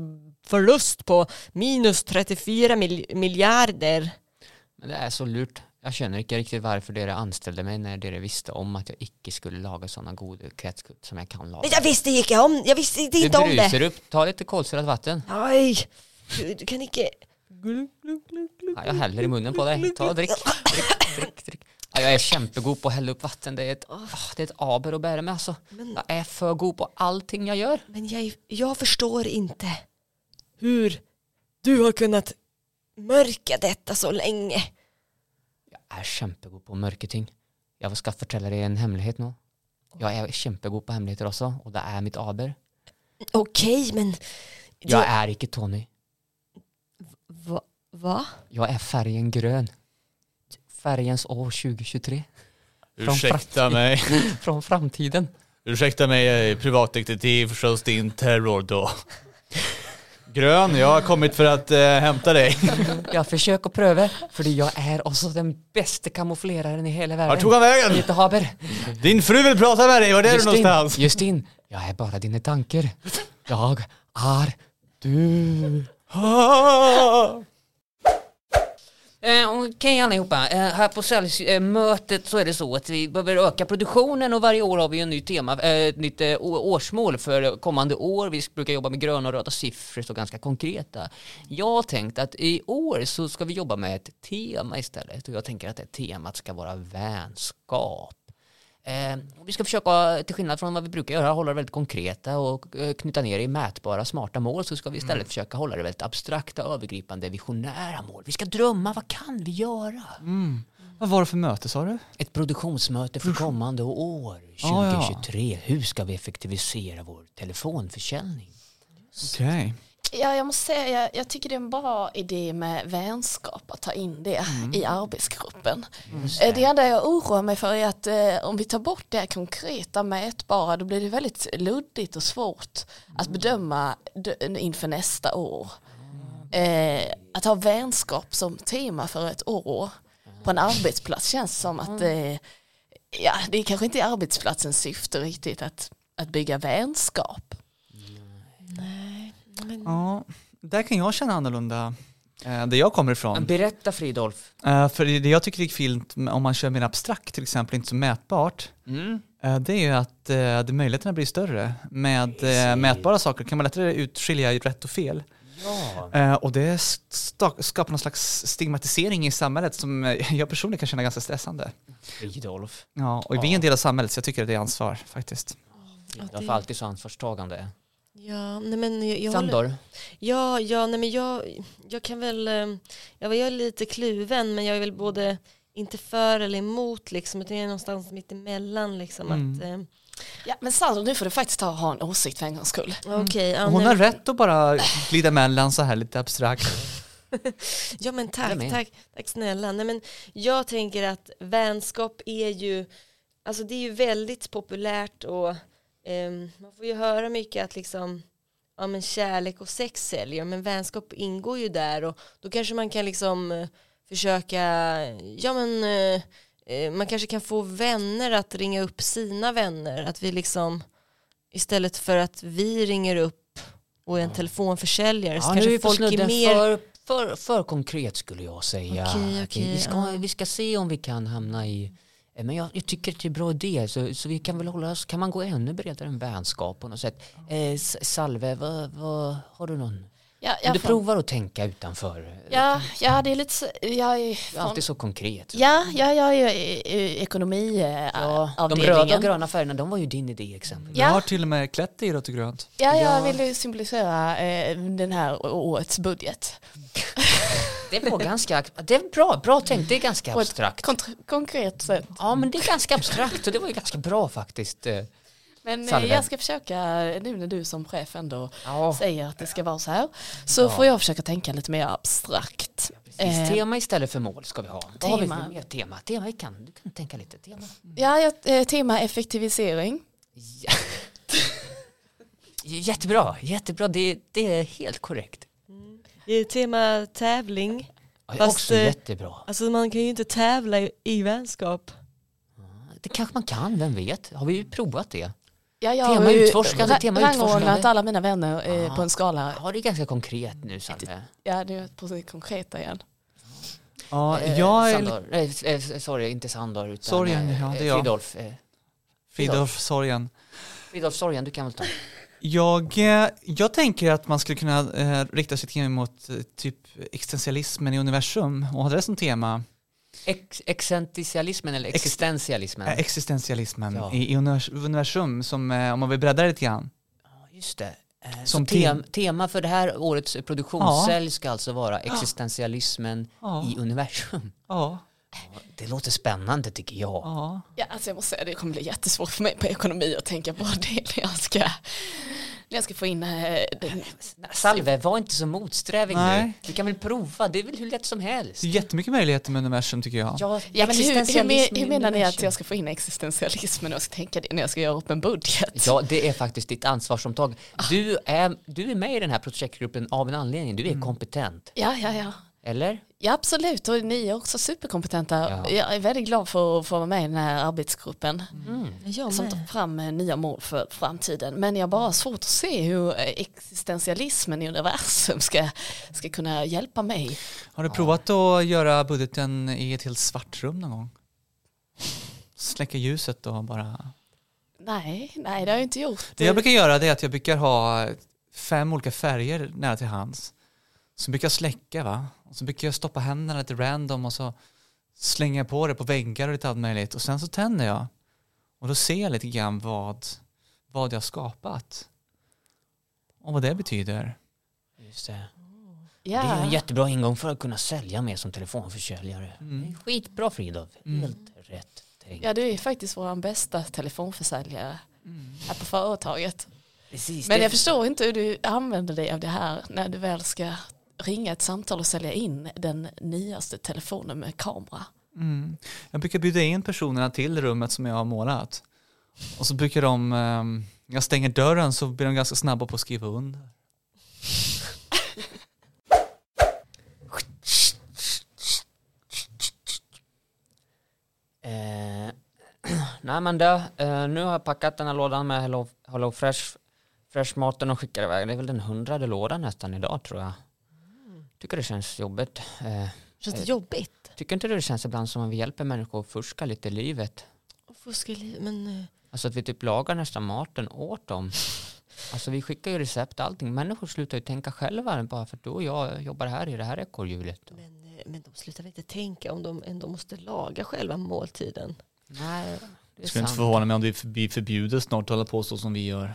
förlust på minus 34 mil- miljarder. Men det är så lurt. Jag känner inte riktigt varför dere anställde mig när dere visste om att jag inte skulle laga sådana goda kretskort som jag kan laga. Men jag visste gick jag om, jag visste inte om du det. bruser upp. Ta lite kolsyrat vatten. Nej, du, du kan inte... Ja, jag häller i munnen på dig. Ta och drick. drick, drick, drick. Ja, jag är kämpegod på att hälla upp vatten. Det är ett, ah, det är ett aber att bära med alltså. Men, Jag är för god på allting jag gör. men jag, jag förstår inte hur du har kunnat mörka detta så länge. Jag är kämpegod på mörka ting. Jag ska fortälla dig en hemlighet nu. Jag är kämpegod på hemligheter också och det är mitt aber. Okej, men... Jag är inte Tony. Va? va? Jag är färgen grön. Färgens år 2023. Från Ursäkta mig. Från framtiden. Ursäkta mig, jag är privatdetektiv förstås din terror då. Grön, jag har kommit för att eh, hämta dig. Jag försöker pröva, för jag är också den bästa kamoufleraren i hela världen. Vart tog han vägen? Lite haber. Din fru vill prata med dig, var är du någonstans? Justin, jag är bara dina tankar. Jag är (laughs) du. Ah. Eh, Okej allihopa, eh, här på säljmötet så är det så att vi behöver öka produktionen och varje år har vi ju en ny tema, eh, ett nytt eh, å- årsmål för kommande år. Vi brukar jobba med gröna och röda siffror, så ganska konkreta. Jag har tänkt att i år så ska vi jobba med ett tema istället och jag tänker att det temat ska vara vänskap. Eh, och vi ska försöka, till skillnad från vad vi brukar göra, hålla det väldigt konkreta och eh, knyta ner det i mätbara, smarta mål. Så ska vi istället försöka hålla det väldigt abstrakta, övergripande, visionära mål. Vi ska drömma, vad kan vi göra? Vad var det för möte sa du? Ett produktionsmöte för kommande år, Ja, ja. 2023. Hur ska vi effektivisera vår telefonförsäljning? Okej. Ja, jag måste säga, jag, jag tycker det är en bra idé med vänskap att ta in det i arbetsgruppen. Eh, Det enda jag oroar mig för är att eh, om vi tar bort det här konkreta mätbara då blir det väldigt luddigt och svårt att bedöma d- inför nästa år. Eh, att ha vänskap som tema för ett år på en arbetsplats känns som att eh, ja, det är kanske inte är arbetsplatsens syfte riktigt att, att bygga vänskap. Nej, men Ja, där kan jag känna annorlunda eh, där jag kommer ifrån. Berätta Fridolf. Eh, för det det jag tycker är fint med- om man kör mer abstrakt till exempel, inte så mätbart, Mm. eh, det är ju att eh, det- möjligheterna blir större. Med eh, mätbara saker kan man lättare utskilja rätt och fel. Ja. Eh, och det sta- skapar någon slags stigmatisering i samhället som eh, jag personligen kan känna ganska stressande. Fridolf. Ja, och vi är en del av samhället så jag tycker att det är ansvar faktiskt. Fridolf det- är alltid så ansvarstagande. ja, nej men jag, jag håller, Sandor. ja, ja, nej men jag, jag kan väl, eh, jag, jag är lite kluven men jag är väl både inte för eller emot liksom, utan jag är någonstans mitt emellan liksom att, Mm. eh, Ja, men Sandro, nu får du faktiskt ta, ha en åsikt för en gångs skull. eh, okej, ja, Mm. Hon nej, har men- rätt att bara glida emellan så här lite abstrakt. Ja men Jag tack, med. tack, tack snälla. Nej, men jag tänker att vänskap är ju, alltså det är ju väldigt populärt och ehm, man får ju höra mycket att liksom, ja men kärlek och sex säljer, men vänskap ingår ju där och då kanske man kan liksom eh, försöka, ja men eh, eh, man kanske kan få vänner att ringa upp sina vänner, att vi liksom istället för att vi ringer upp och är en telefonförsäljare så Ja, nu Alltså, är vi kanske på folk är snudden mer för, för, för konkret skulle jag säga. Okej, Okej, vi, okej, ska, ja. vi ska se om vi kan hamna i eh, men jag, jag tycker att det är en bra idé, så, så vi kan väl hålla oss, kan man gå ännu bredare än vänskap på något sätt? Eh, S- Salve, vad, vad, har du någon? Ja, Om jag du får- provar att tänka utanför, Ja, ja, det är lite så, jag är det är från, alltid så konkret. Ja, ja, jag är ju eh, i- i ekonomiavdelningen. De röda och gröna färgerna, de var ju din idé exempelvis. Jag Ja. har till och med klätt dig i rött och grönt. Ja, Ja. jag vill ju symbolisera eh, den här å- årets budget. Det var ganska, det är bra, bra tänkt, det är ganska På ett abstrakt. kontr- konkret sätt. Ja men det är ganska abstrakt och det var ju ganska bra faktiskt. eh. Men eh, Salve. jag ska försöka, nu när du som chef ändå Ja. säger att det ska vara så här, så Ja. får jag försöka tänka lite mer abstrakt. Precis, Eh, tema istället för mål ska vi ha. Vad har vi för tema. mer tema? Tema, vi kan, du kan tänka lite tema. ja, jag, eh, tema effektivisering. Ja. (laughs) Jättebra, jättebra. Det, det är helt korrekt. Det är tema tävling. Ja, Fast, också eh, jättebra. Alltså man kan ju inte tävla i, i vänskap. Det kanske man kan, vem vet? Har vi ju provat det? Ja, jag Tema har ju utforskande, ra- tema rangordnat utforskande. alla mina vänner eh, Ah. på en skala. Ja, det är ganska konkret nu, Sanne. Ja, det är på det konkreta igen. Ja, Eh, jag är Sandor. Nej, s- eh, sorry, inte Sandor utan Sorgen, eh, ja, det är jag. Fridolf. Eh, Fridolf Sorgen. Fridolf Sorgen, du kan väl ta. Jag, eh, jag tänker att man skulle kunna eh, rikta sig till mot eh, typ existentialismen i universum och ha det som tema. Ex- Existentialismen eller Ex- existentialismen? Eh, existentialismen Ja. i, i univers- universum, som, eh, om man vill bredda det lite grann. Ja, Just det. Eh, Som så tem- tema för det här årets produktionssälj ska alltså vara existentialismen Ja, i universum. ja, Det låter spännande tycker jag. ja. Ja, alltså jag måste säga det kommer bli jättesvårt för mig på ekonomi att tänka på det (laughs) när jag ska, när jag ska få in eh, den- Salve, var inte så motsträvig nu. Nej. Du kan väl prova, det är väl hur lätt som helst. Det är jättemycket möjligheter med universum tycker jag. Ja, Ja, men hur, hur, men- existentialism hur i menar ni att universum. jag ska få in existentialismen och jag ska tänka det när jag ska göra upp en budget? Ja, det är faktiskt ditt ansvarsomtag. Ah. Du är, du är med i den här projektgruppen av en anledning. Du är Mm. kompetent, Ja, ja, ja. eller? Ja, absolut. Och ni är också superkompetenta. Ja. Jag är väldigt glad för att få vara med i den här arbetsgruppen Mm. Mm, Jag som tar fram eh, nya mål för framtiden. Men jag har bara svårt att se hur eh, existentialismen i universum ska, ska kunna hjälpa mig. Har du provat att göra budgeten i ett helt svart rum någon gång? Släcka ljuset och bara Nej, nej, det har jag inte gjort. Det jag brukar göra det är att jag brukar ha fem olika färger nära till hands. Så brukar jag släcka va. Och så brukar jag stoppa händerna lite random och så slänger jag på det på väggar och lite allt möjligt. Och sen så tänder jag. Och då ser jag lite grann vad, vad jag har skapat. Och vad det betyder. Just det. Det är ju ja. en jättebra ingång för att kunna sälja mer som telefonförsäljare. Det är Skitbra Fridolf, helt rätt tänkt. ja, du är faktiskt vår bästa telefonförsäljare här på företaget. Precis, Men Mm. det- jag förstår inte hur du använder dig av det här när du väl ska ringa ett samtal och sälja in den nyaste telefonen med kamera. Mm. Jag brukar bjuda in personerna till rummet som jag har målat. Och så brukar de, ehm, när jag stänger dörren så blir de ganska snabba på att skriva under. Eh, (clears throat) nej men det, eh, nu har jag packat den här lådan med Hello, Hello Fresh, Fresh maten och skickar iväg. Det är väl den hundrade lådan nästan idag tror jag. Mm. Tycker det känns jobbigt. Eh, Känns det jobbigt? tycker inte det känns ibland som att vi hjälper människor att fuska lite i livet? Att fuska i livet, men eh, Alltså att vi typ lagar nästan maten åt dem. Alltså vi skickar ju recept och allting. Människor slutar ju tänka själva bara för att du och jag jobbar här i det här ekorrhjulet. men, eh, men de slutar väl inte tänka om de ändå måste laga själva måltiden. Nej, det är Det skulle inte sant. förvåna mig om det blir förbjudet snart att hålla på så som vi gör.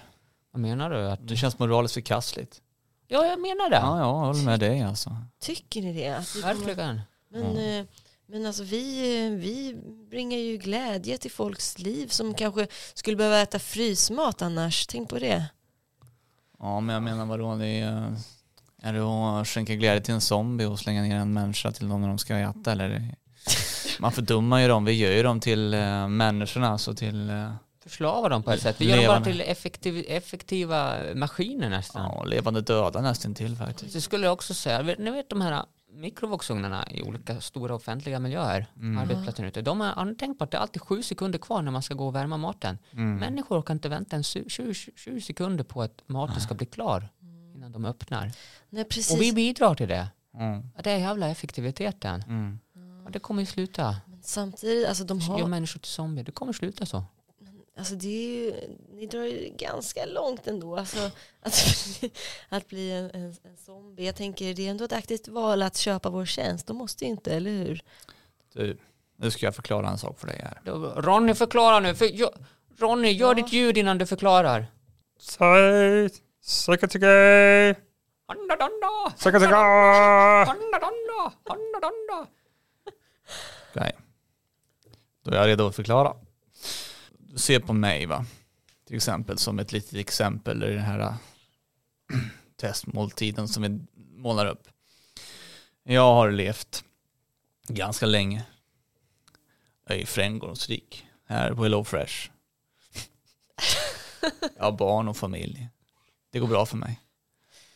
Vad menar du? Att, Det känns moraliskt förkastligt. ja, jag menar Ja, det. ja, jag håller med dig alltså. Tycker ni det? Att vi kommer- Verkligen. Men, eh, men alltså vi, eh, vi bringar ju glädje till folks liv som kanske skulle behöva äta frysmat annars. Tänk på det. Ja, men jag menar vadå, det är, eh, är det att skänka glädje till en zombie och slänga ner en människa till dem när de ska äta eller? Man fördummar ju dem, vi gör ju dem till eh, människorna, alltså till eh, förslava dem på ett sätt. Vi gör dem bara Levande. till effektiv, effektiva maskiner nästan. ja, levande döda nästan till faktiskt. Så skulle jag också säga, vet- ni vet de här mikrovågsugnarna i olika stora offentliga miljöer, Mm. arbetsplatsen ute. De har, har ni tänkt på att det är alltid sju sekunder kvar när man ska gå och värma maten? Mm. Människor kan inte vänta ens 20, 20 sekunder på att maten ska bli klar innan de öppnar. Nej, precis. Och vi bidrar till det. Mm. Ja, Det är jävla effektiviteten. Mm. Ja, Det kommer ju sluta. Men Samtidigt, alltså de Gör har, människor till zombier. Det kommer sluta så. alltså det är ju, ni drar ju ganska långt ändå. Alltså, (laughs) att, bli- att bli en, en, en zombie. Jag tänker det är ändå ett aktivt val att köpa vår tjänst. De måste ju inte, eller hur? Du, nu ska jag förklara en sak för dig här. Då- Ronny förklara nu. För jag, Ronny, gör Ja. ditt ljud innan du förklarar. Säg, söka tycke, Handadanda! (laughs) söka tycke. Handadanda! Handadanda! Nej. Då är jag redo att förklara. Du ser på mig va, till exempel som ett litet exempel i den här äh, (clears throat) testmåltiden som vi målar upp. Jag har levt ganska länge Jag är framgångsrik här på Hello Fresh. Jag har barn och familj. Det går bra för mig.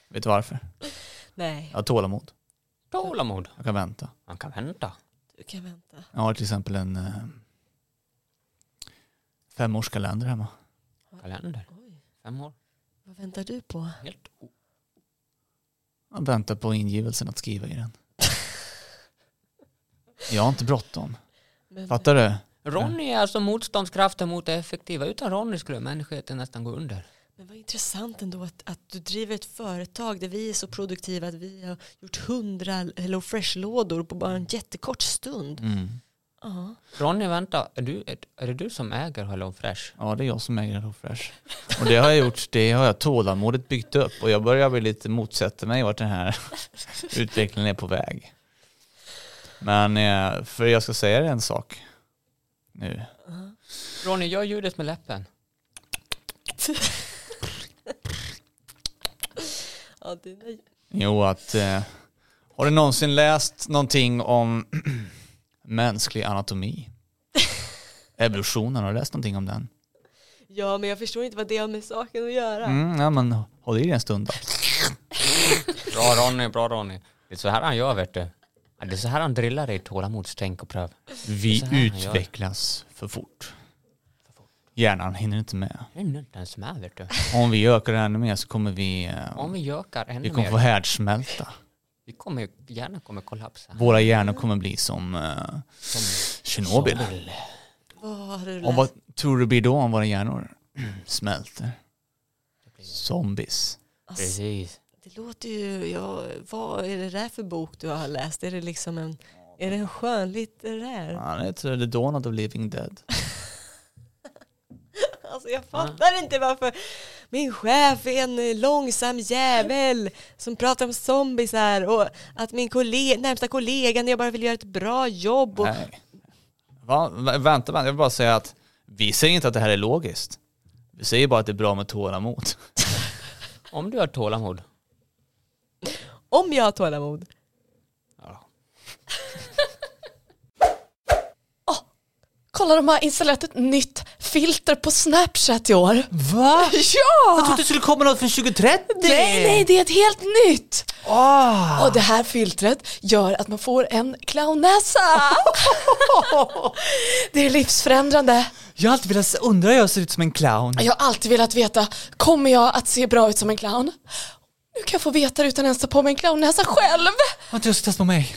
Vet du varför? Nej, Jag har tålamod. Tålamod. Jag kan vänta. Man kan vänta. du kan vänta. Jag har till exempel en eh, femårskalender hemma. Kalender. Oj, Fem år. vad väntar du på? Helt o- Jag väntar på ingivelsen att skriva i den. Jag har inte bråttom. Men, Fattar du? Ronny är alltså motståndskraften mot det effektiva. Utan Ronny skulle mänskligheten nästan gå under. Men vad intressant ändå att, att du driver ett företag där vi är så produktiva att vi har gjort hundra Hello Fresh-lådor på bara en jättekort stund. Mm. Ja. Ronny, vänta. Är, du, är det du som äger Hello Fresh? Ja, det är jag som äger Hello Fresh. Och det har jag gjort, det har jag tålamodigt byggt upp och jag börjar bli lite motsätta mig vart den här (laughs) utvecklingen är på väg. Men eh, för jag ska säga dig en sak nu. Ronny, gör ljudet med läppen. ja det är Jo, att eh, har du någonsin läst någonting om (clears throat) (laughs) mänsklig anatomi? Evolutionen, har du läst någonting om den? ja, men jag förstår inte vad det har med saken att göra. Mm, ja, men håll i dig en stund då. Bra Ronny, bra Ronny. Det är så här han gör vet du. Ja, Det är så här han drillar dig i tålamodstänk och pröv. Vi Så här han gör. utvecklas för fort. Hjärnan hinner inte med. Det är inte ens med vet du. Om vi ökar ännu mer så kommer vi... eh, Om vi gökar ännu vi kommer mer. få härdsmälta. Vi kommer, hjärnan kommer kollapsa. Våra hjärnor kommer bli som eh, Tjernobyl. Tjernobyl. Vad har du Och läst? vad tror du blir då om våra hjärnor Mm. smälter? Zombies. Alltså, Precis. det låter ju, ja, vad är det där för bok du har läst? Är det liksom en, är det en skönlitterär? Ja, det tror jag, The Dawn of the Living Dead. Alltså jag fattar inte varför min chef är en eh, långsam jävel som pratar om zombisar och att min kollega, närmsta kollega när jag bara vill göra ett bra jobb och Nej. Va? Va? Vänta, (laughs) vänta, jag vill bara säga att vi säger inte att det här är logiskt. Vi säger bara att det är bra med tålamod. Om du har tålamod. Om jag har tålamod. Ja. Kolla de har installerat ett nytt filter på Snapchat i år. Va? Jag (laughs) Ja! trodde det skulle komma något från 2030! Nej, nej, det är ett helt nytt! Åh. Och det här filtret gör att man får en (laughs) clownnäsa. det är livsförändrande. Jag har alltid velat undra hur jag ser ut som en clown. Jag har alltid velat veta, kommer jag att se bra ut som en clown? Nu kan jag få veta det utan ens ta på mig en clownnäsa själv. Har inte du sett på mig?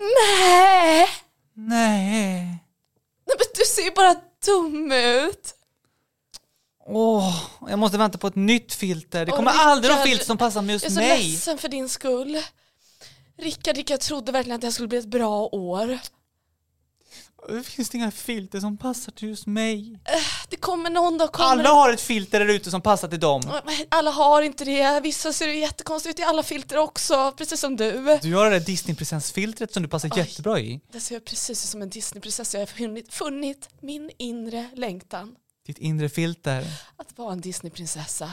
Nej, Nej. Nej men du ser ju bara dum ut. Åh, jag måste vänta på ett nytt filter. Det Åh, kommer aldrig något Rickard. filter som passar med Jag är just så mig. ledsen för din skull. Rickard, Rickard, jag trodde verkligen att det här skulle bli ett bra år. Det finns inga filter som passar till just mig. Det kommer någon dag. Kommer Alla har ett filter där ute som passar till dem. Alla har inte det. Vissa ser ju jättekonstigt ut i alla filter också, precis som du. Du har det där Disney-prinsessfiltret som du passar Oj. jättebra i. Det ser jag precis ut som en Disneyprinsessa. Jag har funnit, funnit min inre längtan Ditt inre filter. att vara en Disneyprinsessa.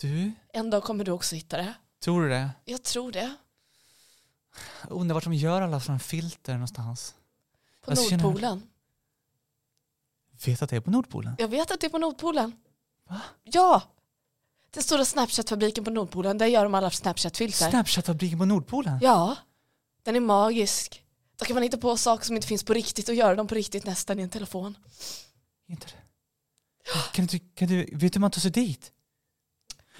Du, En dag kommer du också hitta det. tror du det? Jag tror det. Jag undrar vart de gör alla sådana filter någonstans. På Jag känner- Nordpolen. Vet att det är på Nordpolen? Jag vet att det är på Nordpolen. Va? Ja! Den stora Snapchat-fabriken på Nordpolen, där gör de alla Snapchat-filter. Snapchat-fabriken på Nordpolen? Ja, den är magisk. Då kan man hitta på saker som inte finns på riktigt och göra dem på riktigt nästan i en telefon. Inte det. Kan du, kan du, vet du hur man tar sig dit?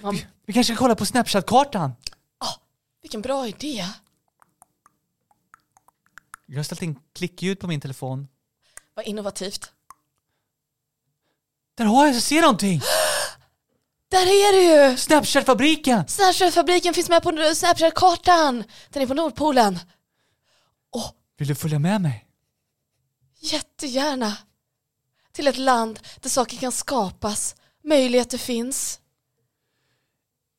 Man, Vi, vi kanske ska kolla på Snapchat-kartan? vilken bra idé. Jag har ställt in klickljud på min telefon. Vad innovativt. Där har jag, jag ser någonting! Där är det ju! Snapchat-fabriken! Snapchat-fabriken finns med på Snapchat-kartan. Den är på Nordpolen. Vill du följa med mig? Jättegärna. Till ett land där saker kan skapas, möjligheter finns.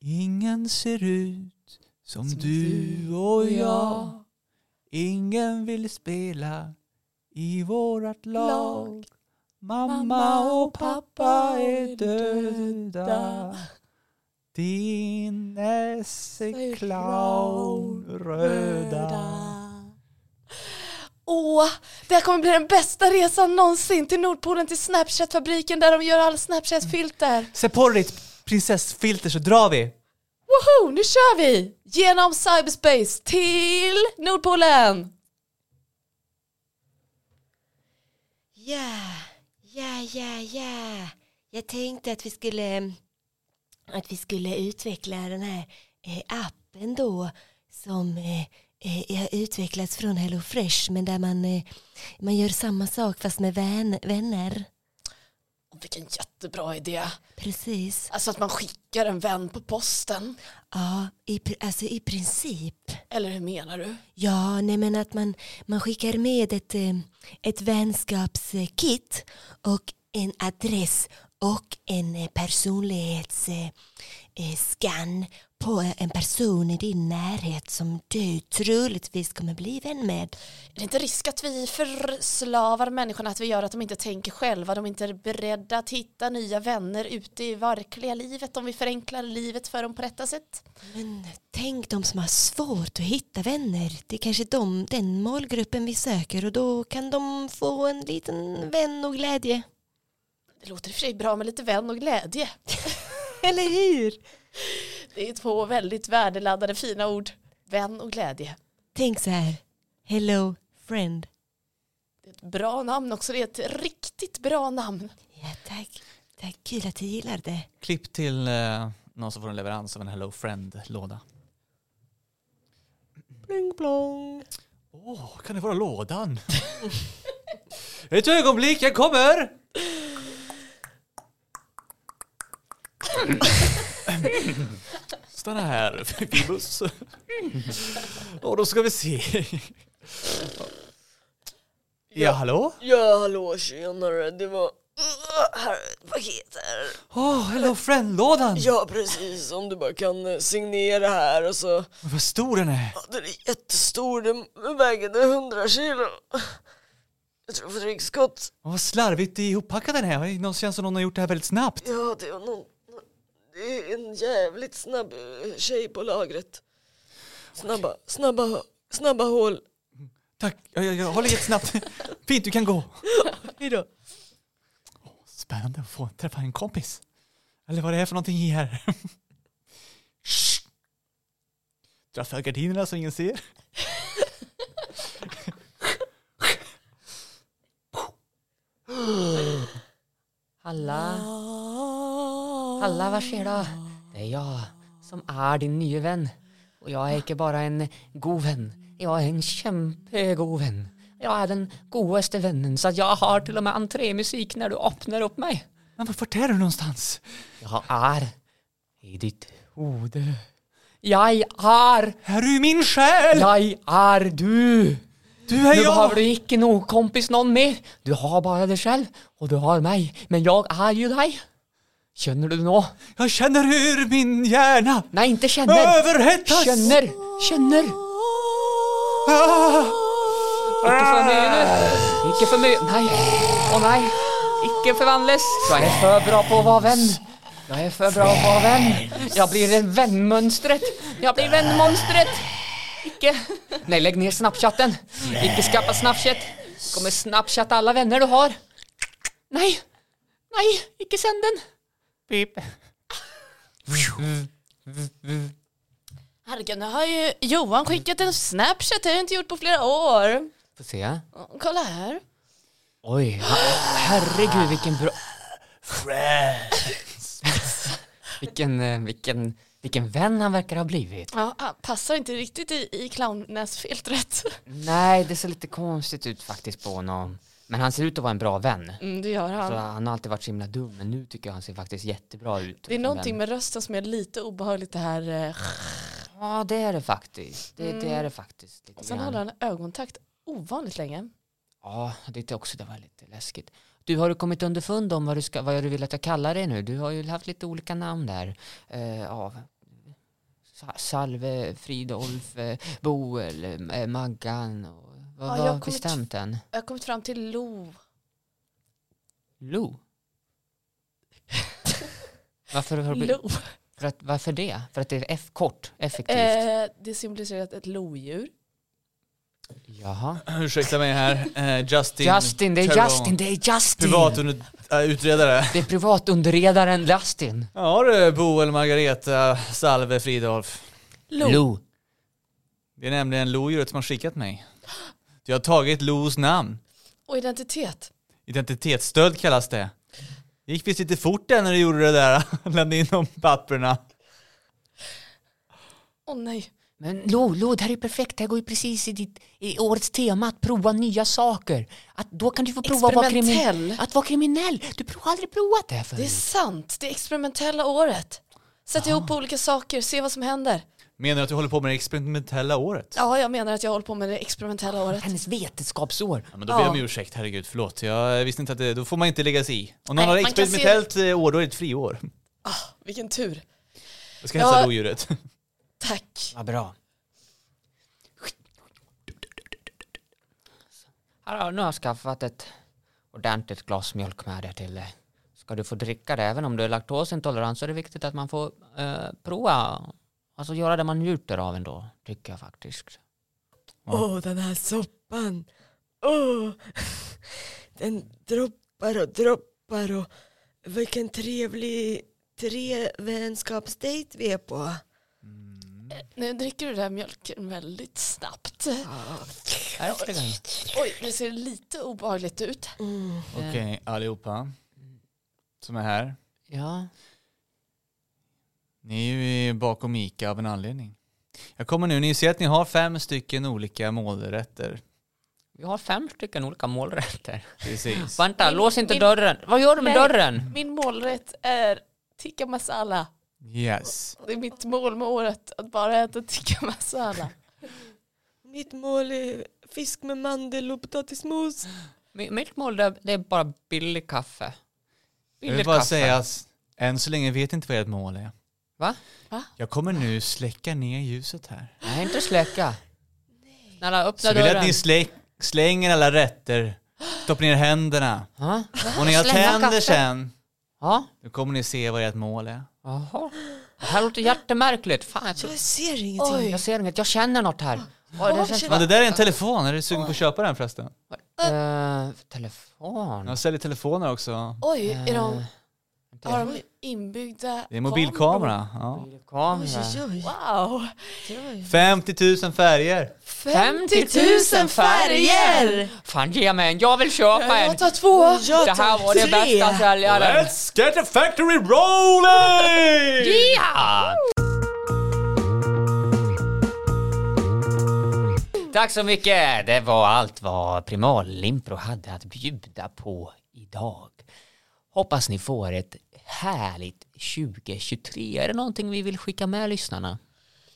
Ingen ser ut som, Som du och jag. Ingen vill spela i vårat lag. Lag. Mamma och pappa är döda. Din Säg nässeklown röda. Åh, det här kommer bli den bästa resan någonsin till Nordpolen till Snapchat-fabriken där de gör alla Snapchat-filter. Se på ditt prinsessfilter så drar vi. Woho, nu kör vi! Genom cyberspace till Nordpolen! Ja, ja, ja, ja. Jag tänkte att vi skulle, att vi skulle utveckla den här eh, appen då som eh, eh, har utvecklats från Hello Fresh men där man, eh, man gör samma sak fast med vän, vänner. Åh, Vilken jättebra idé. Precis. Alltså att man skickar en vän på posten. Ja, i, pr- alltså i princip. Eller hur menar du? Ja, nej men att man, man skickar med ett, eh, ett vänskapskit och en adress och en eh, personlighetsscan eh, scan på en person i din närhet som du troligtvis kommer bli vän med. Är det inte risk att vi förslavar människorna, att vi gör att de inte tänker själva, de inte är beredda att hitta nya vänner ute i verkliga livet om vi förenklar livet för dem på detta sätt? Men tänk de som har svårt att hitta vänner. Det är kanske de, den målgruppen vi söker och då kan de få en liten vän och glädje. Det låter i och för sig bra med lite vän och (laughs) glädje. Eller hur? Det är två väldigt värdeladdade fina ord. Vän och glädje. Tänk så här. Hello friend. Det är ett bra namn också, det är ett riktigt bra namn. Ja, tack. Tack, kul att du gillar det. Klipp till eh, någon som får en leverans av en Hello Friend-låda. Bling blong. Åh, kan det vara lådan? Ett ögonblick, jag kommer! Stanna här, Fibus. Och då ska vi se. Ja, hallå? Ja hallå tjenare, det var uh, här är ett paket här. Åh, Hello Friend-lådan! Ja precis, om du bara kan eh, signera här och så. Men Vad stor den är! Ja, Den är jättestor, den väger 100 kilo. Jag tror för ryggskott. Och Vad slarvigt ihoppackad den är. Det känns som någon har gjort det här väldigt snabbt. Ja det var någon, någon det är en jävligt snabb eh, tjej på lagret. Snabba, snabba, snabba hål. Tack, jag, jag, jag håller jättesnabbt. Fint, du kan gå. Hejdå. Spännande att få träffa en kompis. Eller vad det är för någonting i här. (laughs) Shh. Dra för gardinerna så ingen ser. Halla, halla vad sker då? Det är jag som är din nya vän. Och jag är inte bara en god vän. Jag är en kämpegod vän. Jag är den godaste vännen så att jag har till och med entrémusik när du öppnar upp mig. Men vart är du någonstans? Jag är i ditt hode. Jag är, Här är ju min själ! jag är du. Du är Nu jag! behöver du inte någon kompis någon mer. Du har bara dig själv och du har mig. Men jag är ju dig. Känner du nå? Jag känner hur min hjärna Nej, inte känner. överhettas! Känner, känner. Ah. Inte för mycket nu. Inte för mycket. Nej. Åh nej. Inte förvandlas. Jag är för bra på att vara vän. Jag är för bra på att vara vän. Jag blir en vänmönstret. Jag blir vänmonstret. Icke. Nej, lägg ner snapchatten. Icke skaffa snapchat. Kommer snapchatta alla vänner du har. Nej. Nej, icke sänd den. Pip. Herregud, nu har ju Johan skickat en Snapchat, det har jag inte gjort på flera år. Får se. Åh, Kolla här. Oj, herregud vilken bra... vilken, eh, vilken, vilken vän han verkar ha blivit. Ja, ah, passar inte riktigt i, i clownnäsfiltret. Nej, det ser lite konstigt ut faktiskt på honom. Men han ser ut att vara en bra vän. Mm, det gör Så han. han har alltid varit så himla dum, men nu tycker jag han ser faktiskt jättebra ut. Det är som någonting med vän. rösten som är lite obehagligt det här. eh, Ja, det är det faktiskt. Det, det är det faktiskt. Lite Sen grann. håller han ögonkontakt ovanligt länge. Ja, jag tyckte också det var lite läskigt. Du, har du kommit underfund om vad du, ska, vad du vill att jag kallar dig nu? Du har ju haft lite olika namn där. Eh, ja. Sa- Salve, Fridolf, eh, Boel, eh, Maggan. Och, Ja, vad jag var har kommit- bestämt än? Jag har kommit fram till Lo. Lo? (laughs) varför, har du, Lo. för att, varför det? För att det är F kort, effektivt? Eh, det symboliserar ett- ett lodjur. Jaha. (clears throat) Ursäkta mig här, eh, Justin. eh, Justin, det är Theron. Justin, det är Justin! Privatutredare. Det är privatunderredaren Justin. Ja du, Boel, Eh, Margareta, Salve, Fridolf. Lo. Lo. Det är nämligen lodjuret som har skickat mig. Du har tagit Los namn. Och identitet. Identitetsstöld kallas det. Det gick visst lite fort där när du gjorde det där. (laughs) Lämnade in de papperna. Åh nej. Men Lo, Lo, det här är perfekt. Det här går ju precis i, ditt, i årets tema, att prova nya saker. Att, då kan du få prova att vara, krimin- Experimentell. att vara kriminell. Du prov- har aldrig provat det Det är förut. sant. Det är experimentella året. Sätt ihop olika saker, se vad som händer. Menar du att du håller på med det experimentella året? Ja, jag menar att jag håller på med det experimentella året. Hennes vetenskapsår. Ja, men då ber jag om Ja. ursäkt, herregud, förlåt. Jag visste inte att det, då får man inte lägga sig i. Om någon Nej, har man kan se- experimentellt eh, år, då är det ett friår. Vilken tur. Jag ska hälsa Ja. lodjuret. Tack. Vad bra. Här har- Nu har jag skaffat ett ordentligt glas mjölk med dig till dig. Ska du få dricka det? Även om du är laktosintolerant så är det viktigt att man får eh, prova. Alltså göra det man njuter av ändå, tycker jag faktiskt. Ja. Åh, den här soppan. Åh, (laughs) den droppar och droppar och vilken trevlig trevänskapsdejt vi är på. Nu dricker du den här mjölken väldigt snabbt. Här är det. Oj, det ser lite obehagligt ut. Mm. Okej, allihopa som är här. Ja. Ni är ju bakom Ica av en anledning. Jag kommer nu, ni ser att ni har fem stycken olika målrätter. Vi har fem stycken olika målrätter. Precis. Vänta, Min- lås inte min- dörren. Vad gör du med Nej. dörren? Min målrätt är tikka masala. Yes. Det är mitt mål med året, att bara äta tikka masala. Mitt mål är fisk med mandel och potatismos. Mi- Mitt mål det är, det är bara billig kaffe. Jag vill Billigt bara kaffe. säga att än så länge vet inte vad ert mål är. Va? Va? Jag kommer nu släcka ner ljuset här. Nej, inte släcka. Snälla, öppna Så vill jag dörren. att ni slä- slänger alla rätter, stoppar ner händerna ja. och när jag Slänga tänder kaffet. sen, ja, då kommer ni se vad ert mål är. ja. Jaha. Det här låter jättemärkligt. Fan, jag, tror, Jag ser ingenting. Oj. jag ser inget. Jag känner något här. Oj, det känns, Men det där är en telefon, är du sugen på att köpa den förresten? Eh, telefon. Jag säljer telefoner också. Oj, är de, Inte- har de inbyggda Eh, Det är mobilkamera. Ja. Kamera. Oj, oj, Wow! oj. 50 000 färger! 50 000 färger! Fan ge mig en, jag vill köpa en! Jag tar två! Jag Det här tar var det tre. bästa säljaren! get the factory rolling! Ja! Tack så mycket! Det var allt vad Primallimpro hade att bjuda på idag. Hoppas ni får ett härligt 2023. Är det någonting vi vill skicka med lyssnarna?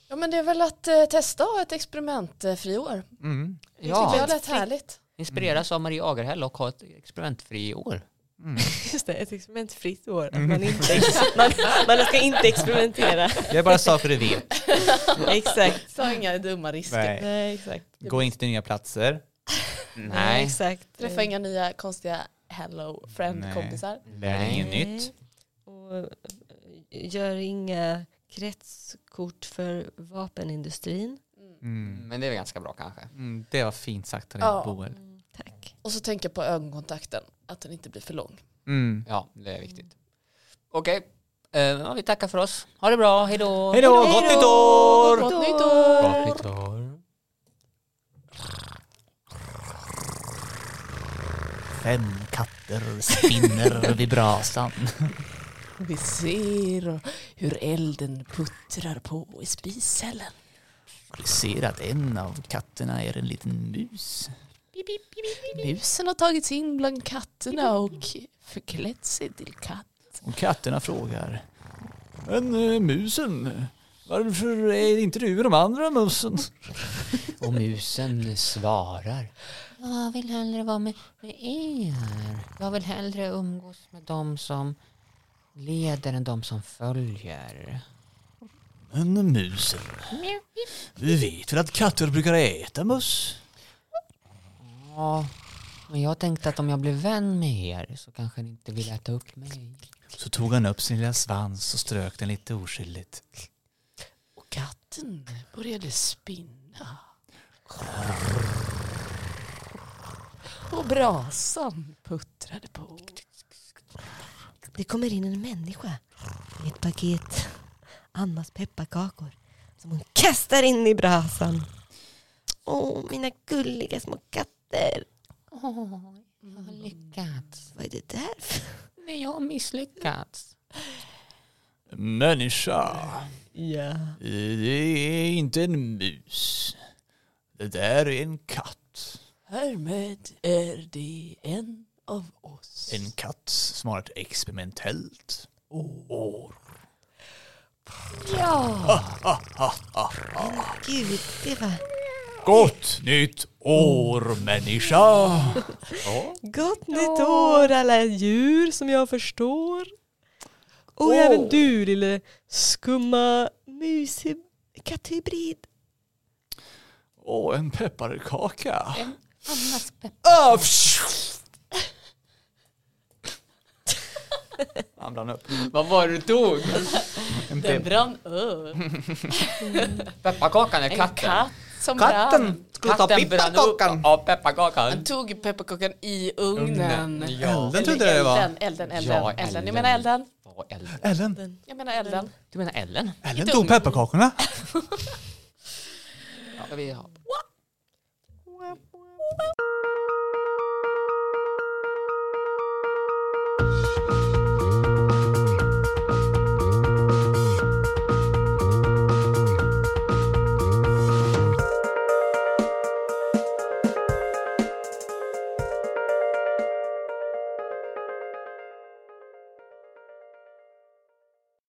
Ja men det är väl att eh, testa och ha ett experimentfriår. Mm. Det tycker jag lät härligt. Inspireras av Marie Agerhäll och ha ett experimentfri år. Just det, ett experimentfritt år. Mm. Att man, (laughs) inte, man, man ska inte (laughs) experimentera. Det är bara saker du vet. Exakt. Ta inga dumma risker. Nej. Nej, exakt. Gå inte till nya platser. Nej. Exakt. Träffa inga nya konstiga hello Nej. friend-kompisar. Lär dig inget Nej. nytt. Och eh, gör inga kretskort för vapenindustrin. Mm. Men det är väl ganska bra kanske. Mm, det var fint sagt av dig, Ja. Boel. Tack. Och så tänka på ögonkontakten, att den inte blir för lång. Mm. Ja, det är viktigt. Okej, eh, ja, vi tackar för oss. Ha det bra, hej då! Hej då, gott nytt år! Gott nytt år! Gott nytt år! 5 katter spinner vid brasan. Vi ser hur elden puttrar på i spishällen. Vi ser att en av katterna är en liten mus. Musen har tagits in bland katterna och förklätt sig till katt. Och katterna frågar. Men eh, musen, varför är inte du med de andra musen? Och musen svarar. Jag vill hellre vara med, med er. Jag vill hellre umgås med de som leder än de som följer. Men musen, vi vet väl att katter brukar äta möss? Ja, men jag tänkte att om jag blev vän med er så kanske ni inte vill äta upp mig. Så tog han upp sin lilla svans och strök den lite oskyldigt. Och katten började spinna. Och brasan puttrade på. Det kommer in en människa med ett paket Annas pepparkakor som hon kastar in i brasan. Åh, mina gulliga små katter. Åh, jag har lyckats. Vad är det där för? Men jag har misslyckats. Människa, Ja. det är inte en mus. Det där är en katt. Härmed är det en av oss. En katt som har ett experimentellt år. Gud, det var Gott nytt år människa! Gott nytt år alla djur som jag förstår. Och även du lille skumma mus, katthybrid. Och en pepparkaka. Annas pepp. Ah, Han brann upp. Vad var det du tog? En Den pep- brann upp. Pepparkakan är En katten. katt som brann. Katten skulle ta Katten brann upp pepparkakan. av pepparkakan. Han tog pepparkakan i ugnen. Ugnen. Ja. Elden Eller trodde jag det var. Elden, elden, elden. Ja, elden. elden. Jag menar elden. Vad Ellen? Ellen, Jag menar elden. Du menar Ellen? Ellen tog pepparkakorna. Ja, vi har-